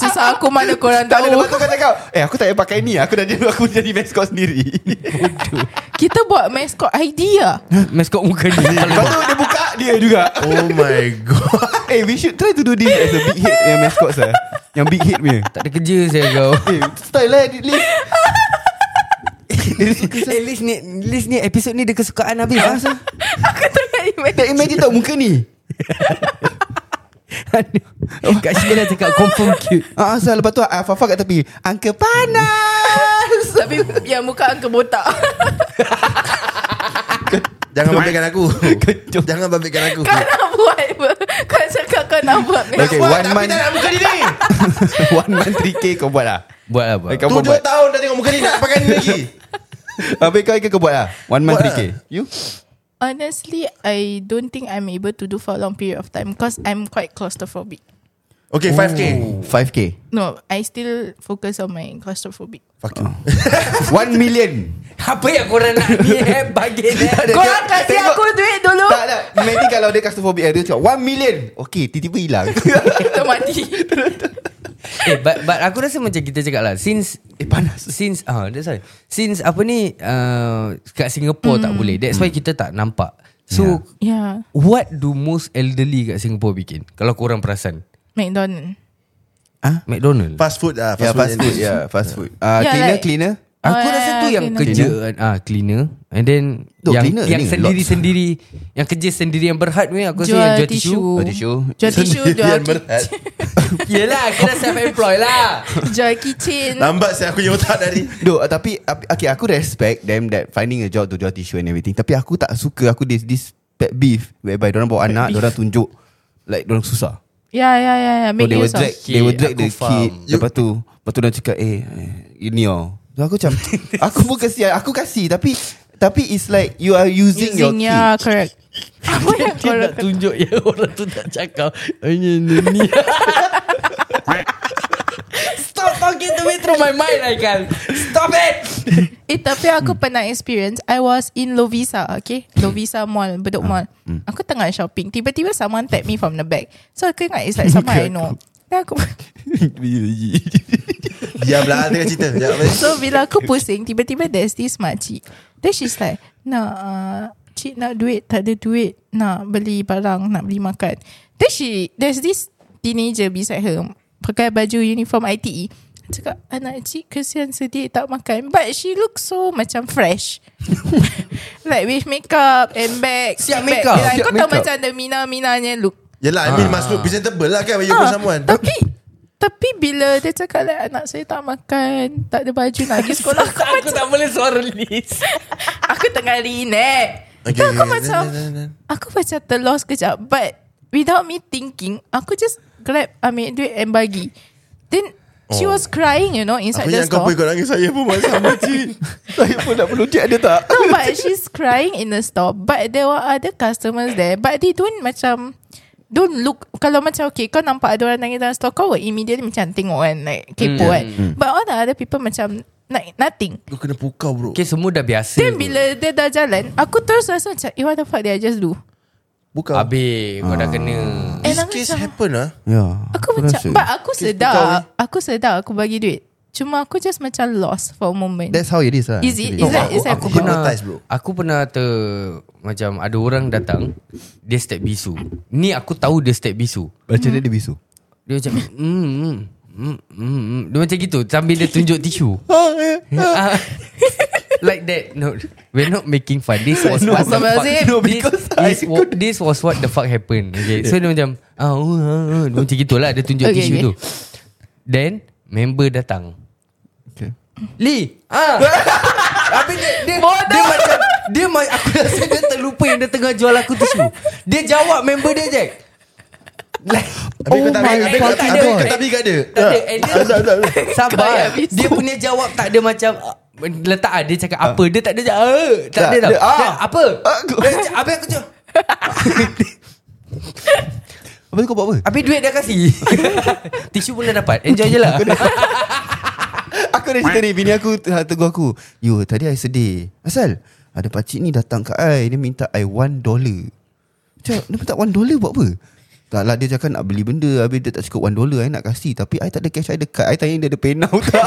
S4: Susah aku mana korang
S2: Tak ada
S4: tahu
S2: lepas tu kau cakap Eh aku tak payah pakai ni Aku dah jadi Aku jadi mascot sendiri Lepas
S4: Kita buat mascot ID lah
S3: Maskot muka ni
S2: tu dia buka
S7: dia juga
S6: Oh my god
S2: Hey we should try to do this As a big hit Yang mascot sah Yang big hit punya
S3: Tak ada kerja saya kau
S2: Eh, Style lah At least
S7: Eh Liz ni Liz ni episod ni Dia kesukaan ah, habis Asal
S2: Tak imagine tau muka ni
S7: Kat sini lah cakap Confirm cute
S2: Ah, asal lepas tu Fafa kat tepi Angka panas
S4: Tapi yang muka angka botak
S6: Jangan babitkan aku Jangan babitkan aku
S4: Kau nak buat apa Kau cakap kau nak buat
S2: Okay
S6: Buat,
S2: one
S6: tapi
S2: month
S6: tak nak muka dia ni
S2: One month 3k kau buat lah
S3: Buat lah buat
S2: Kau
S6: Tujuh
S2: buat
S6: tahun dah tengok muka dia Nak pakai ni lagi
S2: Habis kau Ika, kau buat lah One month
S6: Buat
S2: 3k
S6: lah.
S2: You
S4: Honestly I don't think I'm able to do for a long period of time Because I'm quite claustrophobic
S6: Okay 5k
S2: 5k
S4: No I still focus on my claustrophobic
S6: Fuck you
S2: 1 million
S7: Apa yang korang nak ni eh Bagi dia
S4: Korang kasih
S2: tengok.
S4: aku duit dulu
S2: Tak tak Imagine kalau dia claustrophobic Dia cakap 1 million Okay tiba-tiba hilang
S4: Kita mati
S3: eh, but, but aku rasa macam kita cakap lah Since
S2: Eh panas
S3: Since ah, That's why Since apa ni uh, Kat Singapore mm.
S7: Hmm.
S3: tak boleh That's why kita tak nampak
S7: Ya.
S3: So yeah.
S4: Yeah
S3: What do most elderly kat Singapore bikin Kalau korang perasan
S4: McDonald
S3: McDonald
S6: Fast food lah
S2: Ya fast food
S6: and-
S2: Ya fast food Ah,
S4: Yeah,
S2: Cleaner
S4: like-
S2: cleaner ya,
S3: Aku rasa
S4: Oh, yeah,
S3: tu
S4: yeah,
S3: yang
S4: cleaner.
S3: kerja ah cleaner and then
S2: Duh,
S3: yang
S2: cleaner
S3: yang
S2: ni
S3: sendiri-sendiri yang kerja sendiri yang berhad ni aku rasa
S4: Jual
S3: yang jual
S4: tisu.
S3: tisu.
S2: Jual tisu
S4: Jual tisu Jual,
S6: Yang berat
S3: Yelah kena self employed lah.
S4: jual kitchen
S6: Lambat saya aku punya otak dari
S2: Duh, uh, tapi ap- okay, aku respect them that finding a job to jual tissue and everything. Tapi aku tak suka aku this this pet beef whereby orang bawa anak, orang tunjuk like orang susah.
S4: Yeah yeah yeah, yeah.
S2: So Oh,
S4: Make
S2: they will
S4: use of
S2: drag, they will
S3: Kid,
S2: drag
S3: aku
S2: the
S3: faham.
S2: kid. Lepas tu, lepas tu dia cakap, eh, eh, ini oh. So aku macam, aku pun kasihan, aku kasih tapi tapi it's like you are using, your kid.
S4: Using yeah correct Apa yang
S3: Dia
S4: korang
S3: nak tunjuk ya orang tu tak cakap.
S4: Oh,
S3: Ini ni ni. Stop talking to me through my mind Aikal Stop it Hmm.
S4: Eh tapi aku pernah experience I was in Lovisa Okay Lovisa Mall Bedok
S3: Hmm.
S4: Mall Aku tengah shopping Tiba-tiba someone tap me from the back So aku ingat It's like someone I know Then aku
S6: Diamlah tengah lah, cerita Sekejap, apa?
S4: So bila aku pusing Tiba-tiba there's this makcik Then she's like Nak uh, Cik nak duit Tak ada duit Nak beli barang Nak beli makan Then she There's this Teenager beside her Pakai baju uniform ITE Cakap Anak cik kesian sedih Tak makan But she looks so Macam fresh Like with makeup And bag
S3: Siap
S4: bag.
S3: makeup, siap
S4: Like, Kau tahu
S3: makeup.
S4: macam The Mina-Minanya look
S6: Yelah I
S2: Ah.
S6: mean must look presentable lah kan When you go
S4: Ah,
S6: someone
S4: Tapi Tapi bila dia cakap like, Anak saya tak makan Tak ada baju nak pergi sekolah Aku
S3: Aku tak boleh suara Liz
S4: Aku tengah reenact
S6: Okay,
S4: okay, Aku
S6: okay,
S4: macam
S6: then, then, then.
S4: Aku macam terlost kejap But Without me thinking Aku just grab Ambil duit and bagi Then She was crying you know Inside
S6: Oh. Aku
S4: the
S6: yang kau
S4: store
S6: pun ikut nangis Saya pun macam sama cik
S2: Saya pun nak perlu cek ada tak?
S4: No but she's crying in the store But there were other customers there But they don't macam Don't look Kalau macam okay Kau nampak ada orang nangis dalam store Kau will immediately macam tengok kan Like
S3: Hmm.
S4: kepo kan But all the other people macam like, Nothing
S6: Kau kena pukau bro
S3: Okay semua dah biasa
S4: Then bila dia dah jalan Aku terus rasa macam Eh what the fuck did I just do
S6: Pukau
S3: Habis kau dah kena
S6: This
S4: aku
S6: case
S4: macam-
S6: happen lah
S2: Ya.
S4: Aku macam
S2: rasa.
S4: But aku
S6: kau kan? ni.
S4: sedar Aku sedar aku bagi duit Cuma aku just macam lost For a moment
S2: That's how it is lah.
S4: Is it?
S2: actually.
S4: Is that?
S6: Aku,
S4: Is that?
S6: aku pernah hypnotize bro
S3: Aku pernah ter Macam ada orang datang Dia step bisu Ni aku tahu dia step bisu
S2: Macam
S4: Hmm.
S2: dia dia bisu.
S3: Dia macam mm, mm, mm, mm, mm. Dia macam gitu Sambil dia tunjuk tisu Ah, Like that No We're not making fun This was
S4: No,
S3: what the fuck
S4: Azim.
S3: no, because this, this, wa- this was what the fuck happened okay? So dia macam ah, uh, uh, uh. Dia Macam gitulah Dia tunjuk okay,
S4: Okay,
S3: tisu okay.
S4: okay.
S3: tu Then Member datang
S2: Okay.
S3: Lee ah. Habis dia dia, dia macam dia ma- aku rasa dia terlupa yang dia tengah jual aku tisu. Dia jawab member dia Jack. Like
S6: Habis
S4: Oh
S6: kau tak
S3: my
S6: habis kau tak
S3: fucking
S6: habis
S3: God.
S6: kau tak habis kat dia
S3: tak Ya. ada and dia-
S4: Kau
S3: Sabar
S4: yang bisu.
S3: Dia punya jawab tak ada macam ah, Letak ah, dia cakap apa Dia tak ada jawab ah, Tak
S2: Tak,
S3: ada tau
S2: dia, ah.
S3: Dia, Apa
S2: Ah, aku-
S3: Dia cakap, Habis aku cakap
S2: Apa tu kau buat apa?
S3: Habis duit dah kasi Tisu pun dah dapat Enjoy je lah
S2: Aku dah cerita ni Bini aku t- tegur aku You tadi I sedih Asal Ada pakcik ni datang kat I Dia minta I one dollar Macam Dia minta one dollar buat apa tak lah dia cakap nak beli benda Habis dia tak cukup one dollar I nak kasih Tapi I tak ada cash I ada card I tanya dia ada penau tak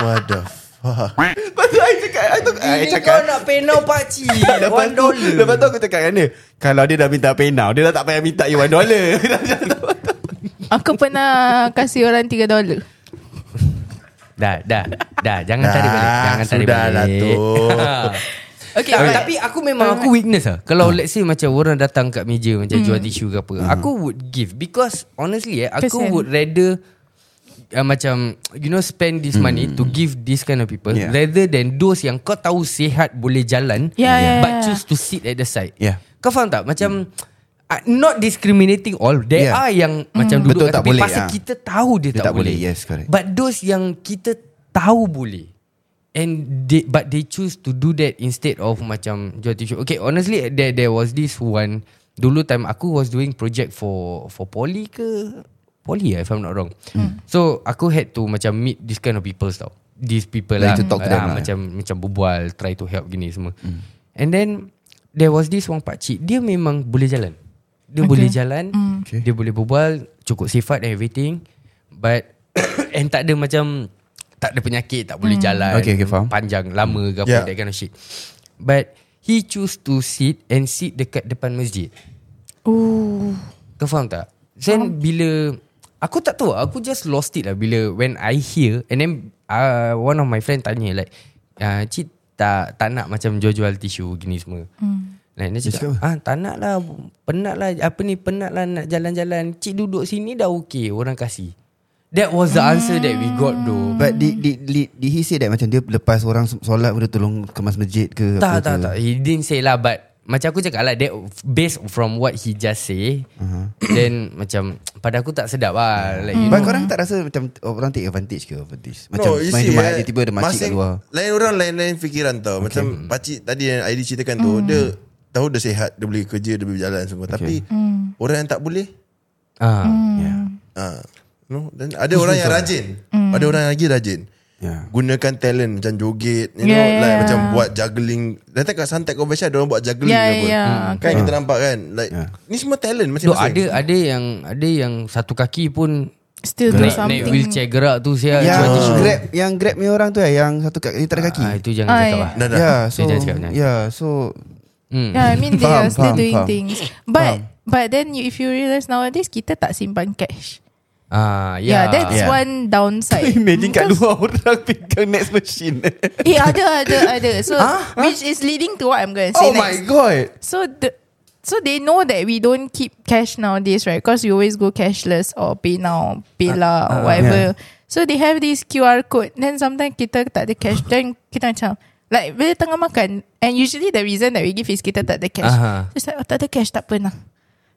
S6: What the fuck
S2: Lepas
S6: tu I cakap I, tu,
S3: eh,
S6: I
S7: Ini
S6: cakap
S7: kau nak penau pakcik
S6: Lepas
S7: One
S6: tu
S7: dollar
S6: Lepas tu aku cakap dengan dia Kalau dia dah minta penau Dia dah tak payah minta you one dollar
S4: Aku pernah Kasih orang 3 dolar
S3: Dah dah Dah jangan tarik balik Jangan tarik
S6: Sudahlah
S3: balik
S6: tu
S3: Okay, tak, tapi aku memang Hmm. aku weakness lah. Kalau
S6: Hmm.
S3: let's say macam orang datang kat meja macam jual tisu ke apa, aku would give because honestly eh aku
S4: Kesian.
S3: would rather uh, macam you know spend this money to give this kind of people
S6: Hmm. Yeah.
S3: rather than those yang kau tahu sihat boleh jalan
S4: Yeah, yeah,
S3: but
S4: yeah.
S3: choose to sit at the side.
S6: Yeah.
S3: Kau faham tak macam uh, not discriminating all there
S6: Yeah.
S3: are yang macam duduk kat
S6: Betul tak
S3: tepi
S6: boleh,
S3: pasal
S6: ah.
S3: kita tahu dia,
S2: Dia
S3: tak,
S2: tak boleh,
S3: boleh.
S2: yes, correct.
S3: But those yang kita tahu boleh and they, but they choose to do that instead of macam jual tisu. Okay, honestly there there was this one dulu time aku was doing project for for poly ke poly eh, if I'm not wrong. So aku had to macam meet this kind of people tau. These people
S2: Like to
S3: lah,
S2: talk to
S3: Ah,
S2: them lah.
S3: macam macam berbual, try to help gini semua.
S7: Hmm.
S3: And then there was this one pakcik, dia memang boleh jalan. Dia okay. boleh jalan, okay. dia boleh berbual, cukup sifat and everything. But and tak ada macam tak ada penyakit, tak boleh jalan.
S7: Okay, okay, faham.
S3: Panjang, lama ke apa
S6: Yeah.
S3: that kind of shit. But he choose to sit and sit dekat depan masjid.
S4: Ooh.
S3: Kau faham tak? Then bila Aku tak tahu Aku just lost it lah Bila when I hear And then uh, One of my friend tanya like uh, Cik tak, tak nak macam jual-jual tisu Gini semua hmm. Like, dia cakap ah, Tak nak lah Penat lah Apa ni penat lah Nak jalan-jalan Cik duduk sini dah okay Orang kasih That was the answer that we got though
S2: But did, did, did, did he say that Macam dia lepas orang solat Dia tolong kemas masjid ke
S3: Tak
S2: apa
S3: tak
S2: ke?
S3: tak He didn't say lah But Macam aku cakap lah that, Based from what he just say uh-huh. Then macam Pada aku tak sedap lah Like you
S2: But
S3: know
S2: korang tak rasa Macam orang take advantage ke advantage? Macam
S6: you
S2: main
S6: see,
S2: rumah
S6: eh,
S2: Dia tiba ada makcik kat
S6: masing-
S2: luar Mm.
S6: Lain orang lain-lain fikiran tau okay. Macam pakcik tadi yang Aidy ceritakan tu
S4: Mm.
S6: Dia tahu dia sihat Dia boleh kerja Dia boleh berjalan semua Tapi
S4: Mm.
S6: Orang yang tak boleh
S7: Ya.
S3: Ah.
S2: yeah.
S6: ah, no? Dan ada orang yang rajin
S4: Mm.
S6: Ada orang yang lagi rajin
S3: Ya.
S2: Yeah.
S6: Gunakan talent Macam joget You know
S4: Yeah, yeah,
S6: like,
S4: yeah.
S6: Macam buat juggling Datang kat Suntec Convention Ada orang buat juggling
S4: Yeah,
S6: ke apa.
S4: yeah.
S6: Kan kita nampak kan like, Ni semua talent
S3: Dok
S6: Masing-masing
S3: ada ada yang ada yang satu kaki pun
S4: Still do
S3: naik, naik
S4: something
S3: wheelchair gerak tu saya
S2: Yang
S3: jual
S7: Ya.
S3: tisu.
S2: grab Yang grab ni orang tu eh Yang satu kaki Ni tak ada kaki
S3: Ah, itu jangan
S4: Ai.
S3: cakap lah.
S6: Dah dah
S2: Yeah
S3: Dia
S2: so
S3: jangan cakap, jangan.
S2: Yeah so
S3: Hmm.
S4: Yeah, I mean they
S2: Faham,
S4: are still
S2: faham,
S4: doing
S2: faham.
S4: things. But but then you, if you realise nowadays kita tak simpan cash.
S3: Ah,
S4: Yeah,
S3: yeah.
S4: that's
S2: Yeah.
S4: one downside.
S7: Imagine kat luar orang pegang next machine
S4: Eh ada ada ada. So which is leading to what I'm going to say
S7: Oh my
S4: next.
S7: god
S4: So the so they know that we don't keep cash nowadays, right? Because we always go cashless or pay now, pay lah, or whatever. So they have this QR code. Then sometimes kita tak ada cash. then kita macam like bila tengah makan. And usually the reason that we give is kita tak ada cash.
S3: Aha.
S4: Just like oh, tak ada cash tak pernah.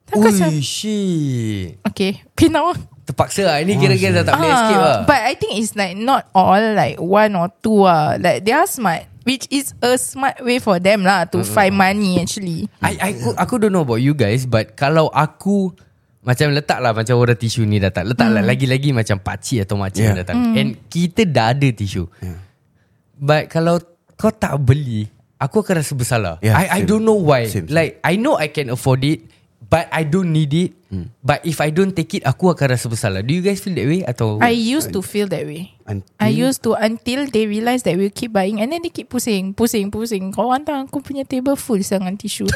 S4: Then aku macam
S3: Ui, shit.
S4: okay pay now. lah.
S3: Terpaksa lah. Ini kira-kira dah tak boleh escape
S6: ah.
S3: lah.
S4: But I think it's like not all like one or two ah. Like they are smart, which is a smart way for them lah to find money actually.
S3: I, I, aku, aku don't know about you guys But kalau aku Macam letaklah Macam orang tisu ni datang
S4: Hmm.
S3: Letaklah lagi-lagi Macam pakcik atau makcik yeah. datang And kita dah ada tisu But kalau Kau tak beli Aku akan rasa bersalah
S2: Yeah,
S3: I, I
S2: same.
S3: don't know why
S2: Same, same.
S3: Like I know I can afford it But I don't need it
S2: Hmm.
S3: But if I don't take it Aku akan rasa bersalah Do you guys feel that way? Atau
S4: I used to feel that way.
S2: Until-
S4: I used to until they realise that we keep buying and then they keep pusing, pusing, pusing. Kau hantar aku punya table full sangat tisu.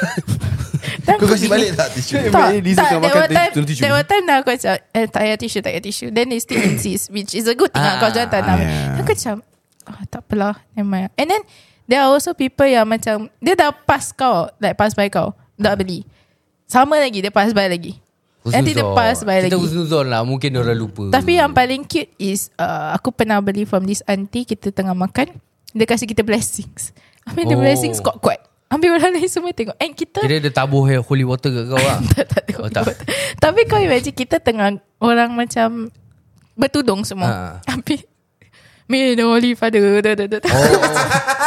S4: Dan
S6: Kau
S4: aku gini,
S6: kasih balik tak tisu
S4: Tak,
S7: Imagine Lisa
S4: tak,
S7: tengah
S4: that
S7: makan
S4: one time,
S7: tisu, tisu.
S4: that one time dah aku macam, eh, tak payah tisu, tak payah tisu. Then they still insist, which is a good thing lah. Kau jangan tak nak.
S2: Yeah.
S4: Aku macam, ah, tak apalah, never mind. And then, there are also people yang macam, dia dah pass kau, like pass by kau, dah beli. Sama lagi, dia pass by lagi. Nanti dia
S3: Husnuzon.
S4: pass by
S3: Kita
S4: lagi.
S3: husnuzon lah Mungkin orang lupa
S4: Tapi yang paling cute is uh, Aku pernah beli from this auntie Kita tengah makan Dia kasih kita blessings Habis oh. the
S3: Oh.
S4: blessings kuat-kuat Ambil orang lain semua tengok And kita
S3: Kira dia tabuh holy water kat kau lah
S4: tak, tak, tengok,
S3: Oh, tak.
S4: Tapi kau imagine Kita tengah Orang macam Bertudung
S3: Ha.
S4: semua Habis May the holy father da, da, da, da.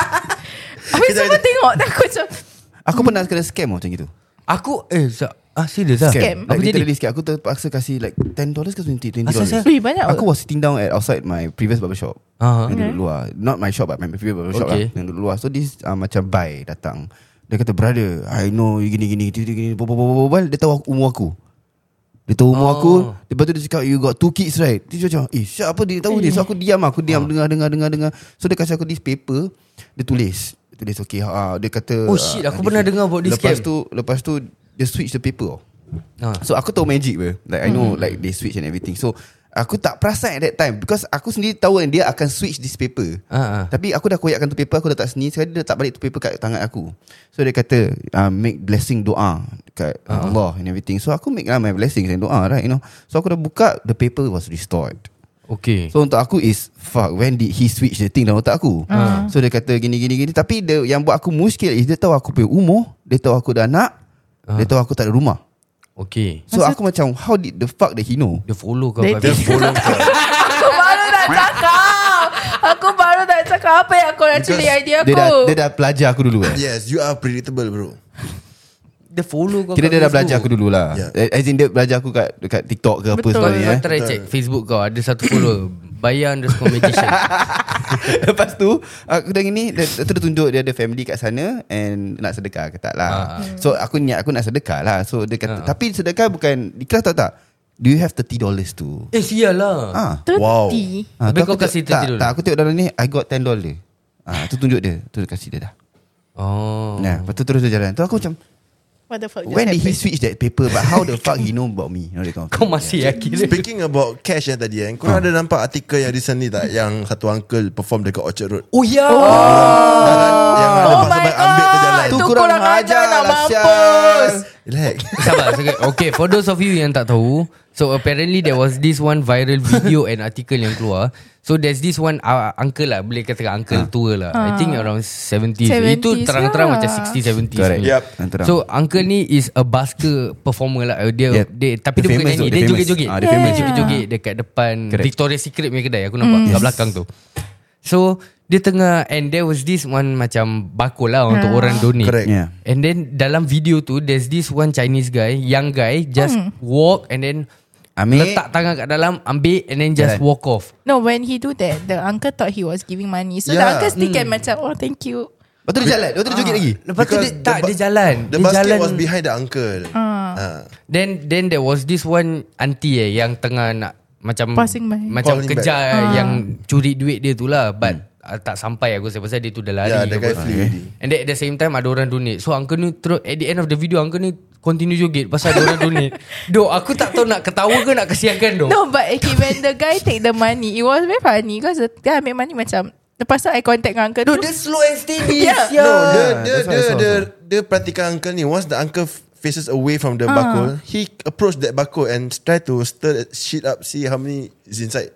S4: Habis semua tengok Aku macam
S2: Aku pernah kena scam tau macam gitu
S3: Aku eh sa- ah serius lah.
S2: Like
S4: Scam.
S3: Apa jadi?
S2: literally scam Aku terpaksa kasih like $10 ke $20
S3: Asal, asal?
S4: Wih banyak
S2: Aku was sitting down at outside my previous barber shop. Uh-huh.
S3: Ah.
S2: Yang duduk luar. Not my shop but my previous barber shop
S3: Okay.
S2: lah. Yang duduk luar. So this uh, macam bye datang. Dia kata brother, I know you gini gini gini gini. Bobol bobol bobol. Dia tahu aku, umur aku. Dia tahu umur
S3: Oh.
S2: oh. aku Lepas tu dia cakap You got two kids right Dia macam Eh siapa dia tahu ni So aku diam lah. Aku
S3: Oh.
S2: diam dengar dengar dengar dengar So dia kasih aku this paper Dia tulis Dia tulis okay ha, Dia kata
S3: Oh, shit,
S2: ah,
S3: aku
S2: this
S3: pernah
S2: is-
S3: dengar about this
S2: Lepas
S3: scam.
S2: tu Lepas tu Dia switch the paper
S3: Ha.
S2: ha. So aku tahu magic weh. Like I know like they switch and everything So Aku tak perasan at that time Because aku sendiri tahu yang Dia akan switch this paper
S3: Ah, ah.
S2: Tapi aku dah koyakkan tu paper Aku dah tak seni Sekali dia tak balik tu paper Kat tangan aku So dia kata uh, Make blessing doa Kat uh-huh. Allah and everything So aku make lah my blessings And doa right you know So aku dah buka The paper was restored
S3: Okay.
S2: So untuk aku is Fuck when did he switch the thing Dalam otak aku uh. So dia kata gini gini gini Tapi dia, yang buat aku muskil Is dia tahu aku punya umur Dia tahu aku dah anak uh. Dia tahu aku tak ada rumah
S3: Okay.
S2: So aku macam How did the fuck that he know
S3: Dia follow kau.
S4: Dia-
S3: Babi.
S4: Aku baru nak cakap Aku baru nak cakap Apa yang korang curi
S6: Because
S4: idea Ya, aku
S2: Dia dah, dia dah pelajar aku dulu
S3: Ya,
S2: eh
S6: Yes, you are predictable, bro.
S3: Dia follow kau.
S2: Kira dia
S3: kat
S2: dah
S3: Facebook.
S2: belajar aku dulu lah
S6: Ya.
S2: yeah. As in dia belajar aku kat, Dekat TikTok ke apa
S4: Betul.
S2: sekali
S3: Kau
S2: eh.
S3: try check Facebook kau Ada satu follower Bayar underscore magician
S2: Lepas tu Aku dah gini Dia tu dia tunjuk Dia ada family kat sana And nak sedekah ke tak lah
S3: Ah.
S2: So aku niat aku nak sedekah lah So dia kata Tapi sedekah bukan Ikhlas tak tak Do you have 30 dollars tu
S3: Eh sial lah
S2: Ah,
S6: Wow.
S2: ah,
S3: Habis
S2: tu aku
S3: kau kasi
S2: tengok- tak,
S3: 30
S2: tak, aku tengok dalam ni I got 10 dollar Ah, tu tunjuk dia Tu dia kasi dia dah
S3: Oh
S2: Nah, lepas tu terus dia jalan Tu aku macam
S4: What the fuck just
S2: When did he
S4: happened?
S2: switch that paper But how the fuck he know about me you know, that kind of
S3: Kau
S2: thing.
S3: masih yakin
S6: Speaking about cash yang tadi, eh, korang ada nampak artikel yang recently tak? Yang satu uncle perform dekat Orchard Road.
S3: Oh ya yeah.
S6: Yang ada
S4: Oh
S6: masa
S4: my
S6: baik ambil tu jalan.
S4: god Tu kurang ajar nak
S2: lah, sial.
S4: mampus
S6: Relax.
S3: Sabar sekejap. Okay for those of you yang tak tahu So apparently there was this one viral video And article yang keluar So there's this one uh, Uncle lah Boleh katakan
S2: Ah.
S3: uncle tua lah I think around 70s,
S4: 70s
S3: Itu terang-terang
S4: lah.
S3: macam 60s
S2: ya.
S3: 70s
S2: Correct.
S3: punya.
S6: Yup.
S2: Yang terang.
S3: So uncle ni is a basker performer lah Dia,
S2: Yep.
S3: dia
S2: Dia
S3: Tapi dia, bukan
S2: famous
S3: nyanyi
S2: tu,
S3: Dia,
S2: dia famous.
S3: joget-joget
S2: Ah, dia famous.
S3: Dia joget-joget dekat depan
S2: Correct.
S3: Victoria's Secret punya kedai Aku nampak kat belakang tu So dia tengah And there was this one Macam bakul lah Untuk orang donate
S6: Correct.
S2: Yeah.
S3: And then dalam video tu There's this one Chinese guy Young guy Just walk and then
S2: Ambil.
S3: Letak tangan kat dalam Ambil and then just
S2: Jalan.
S3: walk off
S4: No when he do that The uncle thought he was giving money So the
S6: Yeah.
S4: uncle still can macam Oh thank you
S2: Lepas tu dia jalan Lepas tu dia joget lagi
S3: Lepas tu
S6: Because
S3: dia tak
S6: the ba-
S3: Dia jalan
S6: The
S3: Dia
S6: basket
S3: jalan
S6: was behind the uncle. Ah.
S3: Then then there was this one auntie eh yang tengah nak macam
S4: Passing by. Ah.
S3: macam
S6: Calling
S3: kejar eh, yang curi duit dia tu lah but
S2: Hmm.
S3: uh, tak sampai aku sebab dia tu dah
S2: Ya,
S3: lari.
S6: Yeah, the
S3: ke
S6: guy
S3: apa.
S6: flee already.
S3: And then at the same time ada orang donate. So uncle ni terus at the end of the video uncle ni continue joget pasal ada orang donate. Dok aku tak tahu nak ketawa ke nak kesiankan dok.
S4: No but okay When the guy take the money It was very funny Because the guy ambil money macam Lepas tu I contact dengan uncle tu
S3: slow and steady.
S4: Yeah.
S3: sial.
S6: No, dia dia
S2: that's what
S6: dia
S2: I saw
S6: dia dia perhatikan uncle ni. Once the uncle f- faces away from
S2: Ah.
S6: the bakul, he approached that bakul and try to stir that shit up, see how many is inside.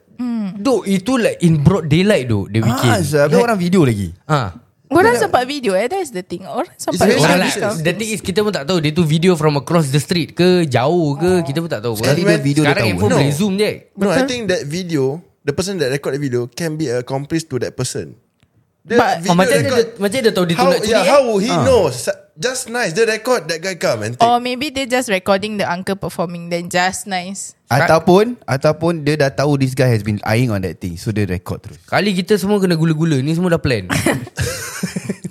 S3: Dok itu like in broad daylight dok dia bikin.
S2: Ah, Zab, ada orang video lagi
S3: Ah.
S4: Orang sempat video eh That's the thing Orang sempat
S6: very
S4: video
S3: Orang
S6: Distance.
S3: like, the thing is kita pun tak tahu dia tu video from across the street ke jauh
S4: Oh.
S3: ke kita pun tak tahu.
S2: Sekali dia video dia
S3: Sekarang
S2: tahu.
S3: handphone
S6: No.
S3: boleh zoom je.
S6: No, I think that video, the person that record the video can be accomplice to that person. The
S4: But-
S3: Oh, macam dia,
S6: record-
S3: macam dia tahu dia tu
S6: how,
S3: nak curi
S6: yeah,
S3: eh.
S6: how he
S2: Ah.
S6: knows? Just nice, the record that guy come and
S2: Oh,
S6: take.
S4: Or maybe they just recording the uncle performing then just nice.
S2: Ataupun Ataupun dia dah tahu This guy has been eyeing on that thing So dia record terus
S3: Kali kita semua kena gula-gula Ni semua dah plan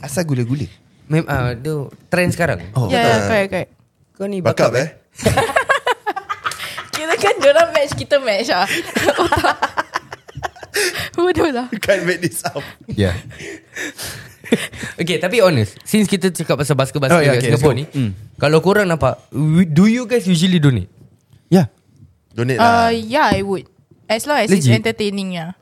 S2: Asal gula-gula
S3: Mem, uh, tu Trend sekarang
S4: Oh, yeah, yeah, correct, correct.
S3: Kau ni
S6: Back up
S3: bakal
S6: eh.
S4: Kira kan diorang match, kita match lah. Otak. Bodoh lah.
S6: Can't make this up.
S2: Yeah
S3: Ya. Okay tapi honest Since kita cakap pasal basket-basket
S2: Oh,
S3: oh,
S2: yeah,
S3: yeah,
S2: okay,
S3: Singapore
S2: let's
S3: ni
S2: go. Mm.
S3: Kalau korang nampak we- Do you guys usually donate?
S2: Yeah
S6: Donate
S2: Ah,
S4: Uh,
S6: lah.
S4: yeah, I would. As long as Legit. it's
S3: Legit?
S4: entertaining ya.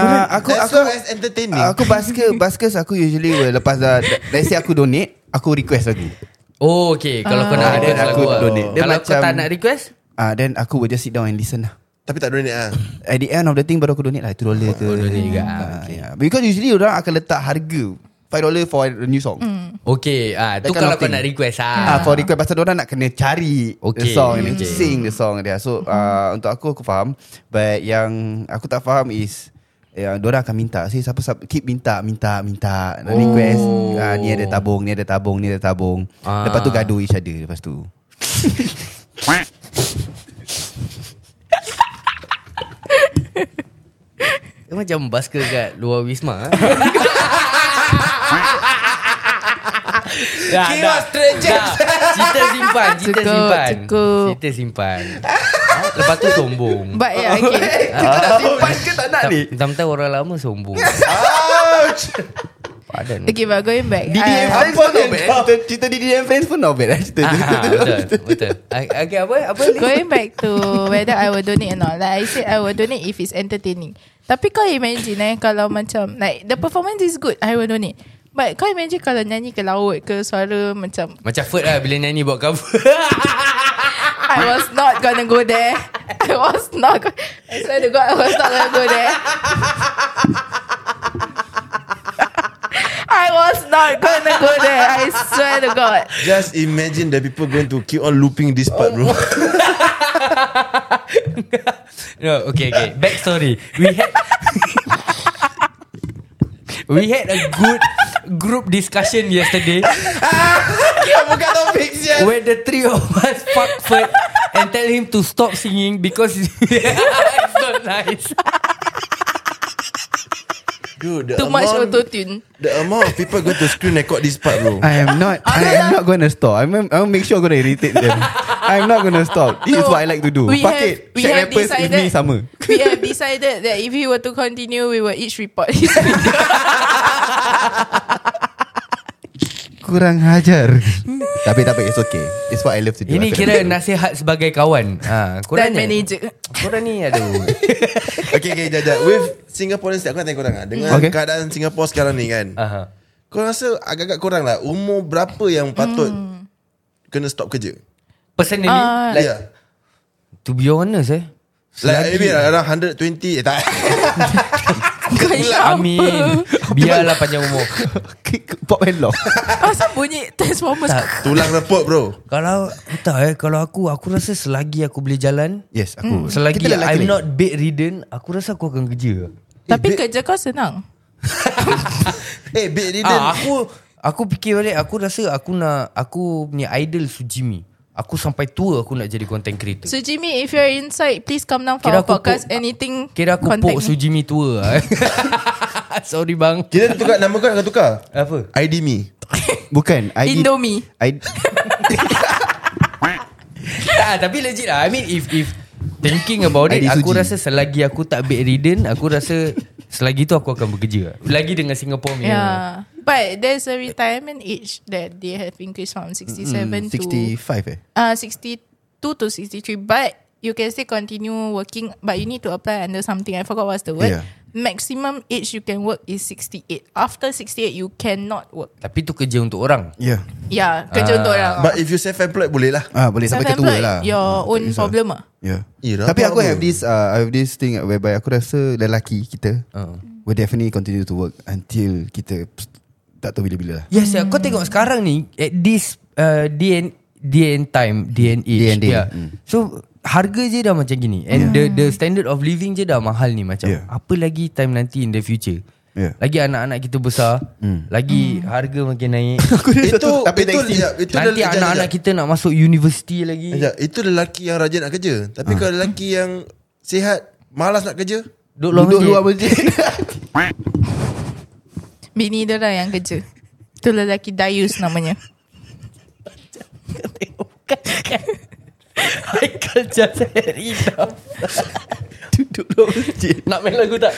S2: Uh, aku
S6: As
S2: aku ah,
S6: long as entertaining.
S2: aku basket basket aku usually will lepas dah let's say aku donate aku request lagu.
S3: Oh okay Kalau kau
S2: Ah,
S3: nak request
S2: then
S3: lagu
S2: aku
S3: lah.
S2: donate. Dia
S3: Kalau kau
S2: macam-
S3: tak nak request
S2: Ah uh, then aku will just sit down and listen lah.
S6: Tapi tak donate ah.
S2: At the end of the thing baru aku donate lah 2 dollar ke. Oh,
S3: donate juga. Ah,
S2: Uh, yeah. Because usually orang akan letak harga 5 dollar for a new song. Mm.
S3: Okay ah,
S2: That
S3: Tu
S2: kind
S3: kalau
S2: of
S3: kau
S2: thing.
S3: nak request
S2: Ah
S3: ah.
S2: for request pasal orang nak kena cari the
S3: Okay.
S2: song and then
S3: Okay.
S2: sing the song dia. So uh, untuk aku aku faham but yang aku tak faham is yang orang akan minta Say siapa, siapa Keep minta Minta Minta Nak request ah, Ni ada tabung Ni ada tabung Ni ada tabung
S3: Ah.
S2: Lepas tu gaduh each other Lepas tu
S3: Dia macam basket kat luar Wisma ah.
S2: Ya,
S3: Dah, dah, dah. Cerita simpan Cerita
S4: Cukup,
S3: simpan
S4: cukup.
S3: Cerita simpan Ah, Lepas tu sombong
S4: But yeah okay
S3: Ah.
S7: Simpan ke tak nak ni?
S3: Tentang orang lama sombong Padan
S4: Okay but going back
S2: DDM
S4: uh,
S2: Friends pun not bad eh. Cerita, cerita DDM Friends pun not bad eh. Cerita
S3: Ah,
S2: tu.
S3: ah, Betul Betul Ah, Okay apa Apa ni
S4: Going back to Whether I will donate or not Like I said I will donate If it's entertaining Tapi kau imagine eh Kalau macam Like the performance is good I will donate But kau imagine Kalau nyanyi ke laut ke Suara macam
S3: Macam Ferd lah Bila nyanyi buat cover
S4: I was not gonna go there. I was not. Go- I swear to God, I was not gonna go there. I was not gonna go there. I swear to God.
S6: Just imagine the people going to keep on looping this part, bro.
S3: No, okay, okay. Backstory. We had we had a good group discussion yesterday
S2: Bukan topik siapa.
S3: where the three of us fuck Ferd and tell him to stop singing because it's not nice.
S6: Dude, the
S4: Too much
S6: amount-
S4: auto tune.
S6: The amount of people going to screen record this part, bro.
S2: I am not
S4: Ah,
S2: I am not going to stop I'm, I'm make sure I'm going to irritate them I'm not going to stop This is
S4: No,
S2: what I like to do
S4: we
S2: Fuck
S4: have-
S2: it
S4: we
S2: Shag
S4: have
S2: rappers with me
S4: decided-
S2: sama
S4: We have decided that if he were to continue, we will each report his
S2: Kurang hajar Tapi tapi it's okay It's what I love to do
S3: Ini
S2: Aku
S3: kira
S2: love to do.
S3: nasihat sebagai kawan. Ha, korang
S4: dan
S3: ni,
S4: manager.
S3: korang ni aduh.
S6: okay, okay, jajak. With Singaporeans, aku nak tanya korang lah. Dengan
S2: Okay.
S6: okay. keadaan Singapore sekarang ni kan.
S3: Aha.
S6: Kau rasa agak-agak korang lah, umur berapa yang patut kena stop kerja?
S3: Personally,
S4: Ah.
S3: like,
S6: yeah.
S3: to be honest eh. selagi-
S6: Like maybe around 120 eh, tak.
S4: Kau ingat
S3: Amin. Biarlah panjang umur.
S2: Pop and lock
S4: Asal bunyi Transformers.
S3: Tak.
S6: Tulang repot bro.
S3: Kalau tak eh, kalau aku aku rasa selagi aku boleh jalan,
S2: Yes
S4: Hmm.
S2: aku
S3: Selagi
S2: Kita lelaki
S3: I'm
S2: lagi.
S3: not bedridden Aku rasa aku akan kerja
S4: Tapi kerja kau senang.
S6: Eh, big didn't.
S3: ah, Aku Aku fikir balik Aku rasa aku nak Aku punya idol Sujimi Aku sampai tua Aku nak jadi content creator
S4: So Jimmy, if you're inside, please come down for
S3: Kira
S4: our
S3: aku
S4: podcast.
S3: pok-
S4: Anything,
S3: Kira aku
S4: contact
S3: pok
S4: me.
S3: Sujimi tua eh. Sorry bang
S6: Kita tukar nama kau nak tukar.
S3: Apa?
S6: ID me.
S2: Bukan I
S4: Indomie.
S2: I hmm,
S3: tak, tapi legit lah I mean if if Thinking about it
S2: Adik
S3: Aku
S2: Suji.
S3: rasa selagi aku tak bedridden Aku rasa Selagi tu aku akan bekerja Lagi dengan Singapore punya
S4: Yeah. But there's a retirement age that they have increased from 67
S2: Mm,
S4: to
S2: 65 eh
S4: uh, 62 to 63. But you can still continue working, but you need to apply under something. I forgot what's the word.
S2: Yeah.
S4: Maximum age you can work is 68. After 68, you cannot work.
S3: Tapi tu kerja untuk orang
S2: Yeah
S4: Yeah, kerja untuk orang.
S6: But if you self-employed boleh lah.
S2: Ah boleh Ah. sampai ketua
S4: Self-employed,
S2: lah
S4: Your
S2: Tak
S4: own
S2: kisah.
S4: problem ah.
S2: Yeah.
S6: Eh,
S2: Tapi
S6: rabak
S2: aku
S6: apa?
S2: have this uh, I have this thing whereby aku rasa lelaki kita
S3: Uh.
S4: Ah.
S2: will Hmm. definitely continue to work until kita pst, tak tahu bila-bila lah.
S3: Yes, yeah. kau tengok sekarang ni at this uh, day and day and time, day and age.
S2: Day and day,
S3: Yeah.
S2: mm.
S3: So harga je dah macam gini and yeah. the the standard of living je dah mahal ni macam.
S2: Yeah.
S3: Yeah. Apa lagi time nanti in the future?
S2: Yeah.
S3: Lagi anak-anak kita besar,
S2: Mm.
S3: lagi harga makin naik.
S6: Itu
S2: Tapi
S6: itu
S2: next
S6: ya, itu
S3: Nanti
S6: lelaki-
S3: anak-anak
S6: jap, jap.
S3: kita nak masuk universiti lagi.
S6: Jap, itu lelaki yang rajin nak kerja.
S4: Ah.
S6: Tapi kalau lelaki yang sihat, malas nak kerja,
S3: Duduk luar
S2: Duduk
S3: masjid.
S2: luar masjid
S4: Bini dia lah yang kerja. Tu lelaki Dayus namanya.
S3: Michael just had enough. Duduk luar masjid. Nak main lagu tak?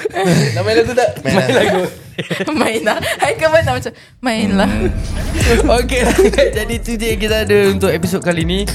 S3: Nak main lagu tak? Main, lah. main lagu.
S4: Main lah. Haikal pun tak macam, main lah.
S2: Hmm.
S3: Okay Jadi itu je kita ada Untuk episod kali ni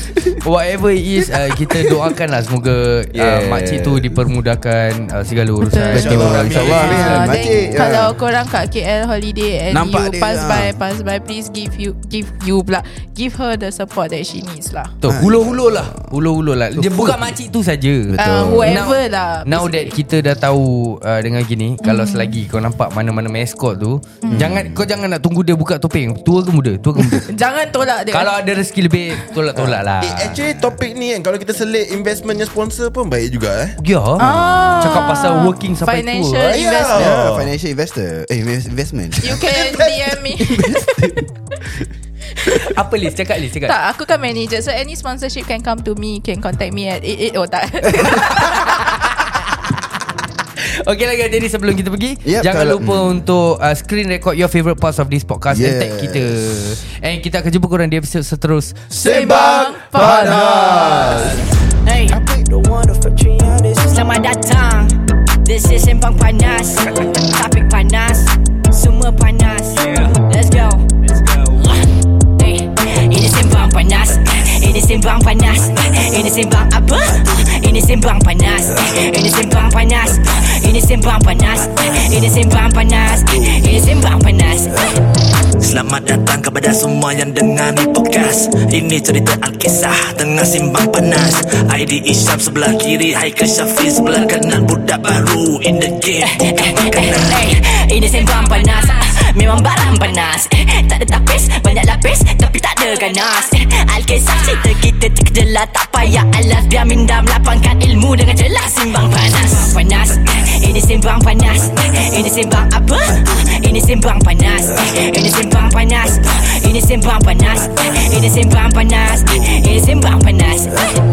S3: Whatever it is uh, Kita doakan lah Semoga yeah. uh, Makcik tu dipermudahkan uh, Segala urusan
S4: Betul.
S2: InsyaAllah InsyaAllah
S4: Ah, then
S2: Makcik ya.
S4: Kalau korang kat KL holiday And
S2: Nampak
S4: you
S2: dia,
S4: pass
S2: ah.
S4: by Pass by Please give you Give you pula Give her the support That she needs lah
S3: Betul Hulur-hulur lah Hulur-hulur lah Dia bukan makcik tu saja
S4: uh, Whoever
S3: Now-
S4: lah
S3: Now that kita dah tahu uh, Dengan gini Kalau selagi kau nampak Mana-mana mascot tu Jangan Kau jangan nak tunggu dia buka topeng Tua ke muda Tua ke muda
S4: Jangan tolak dia
S3: Kalau ada rezeki lebih Tolak-tolak
S4: Ah.
S3: lah
S6: Eh, actually topik ni kan Kalau kita selit investmentnya sponsor pun baik juga eh
S3: Ya
S4: Ah.
S3: Cakap pasal working sampai tua
S4: Financial
S3: eh.
S4: investment
S2: Yeah, Financial investor Eh invest- investment
S4: You can DM me
S3: Apa list Cakap list Cakap
S4: Tak aku kan manager So any sponsorship Can come to me Can contact me at 88 Oh tak
S3: Okay lah guys Jadi sebelum kita pergi
S2: Yep,
S3: Jangan
S2: kalau-
S3: lupa untuk uh, Screen record your favourite parts Of this podcast yes. And tag kita And kita akan jumpa korang Di episode seterus
S4: Sembang Panas.
S1: Hey. Selamat datang This is Sembang Panas Topik panas Semua panas Let's go Hey. Ini Sembang Panas Ini Sembang Panas Ini Sembang apa? Ini Sembang Panas Ini Sembang Panas Ini Sembang Panas Ini Sembang Panas Ini Sembang Panas
S5: Selamat datang kepada semua yang dengar ni podcast Ini cerita Alkisah Tengah simbang panas ID Isyam sebelah kiri Haikal Syafiq sebelah kanan Budak baru in the game Bukan makanan
S1: Hey, Eh, ini sembang panas Ah, Memang barang panas Eh, Tak ada tapis, banyak lapis Tapi tak ada ganas Eh, Alkisah cerita kita terkejelah Tak payah alas Biar minda melapangkan ilmu dengan jelas Simbang panas Sembang panas Eh, Ini sembang panas Eh, Ini sembang apa? Ah, Ini sembang panas Eh, Ini sembang panas Ah, Ini sembang panas Eh, Ini sembang panas Eh, Ini sembang panas Eh,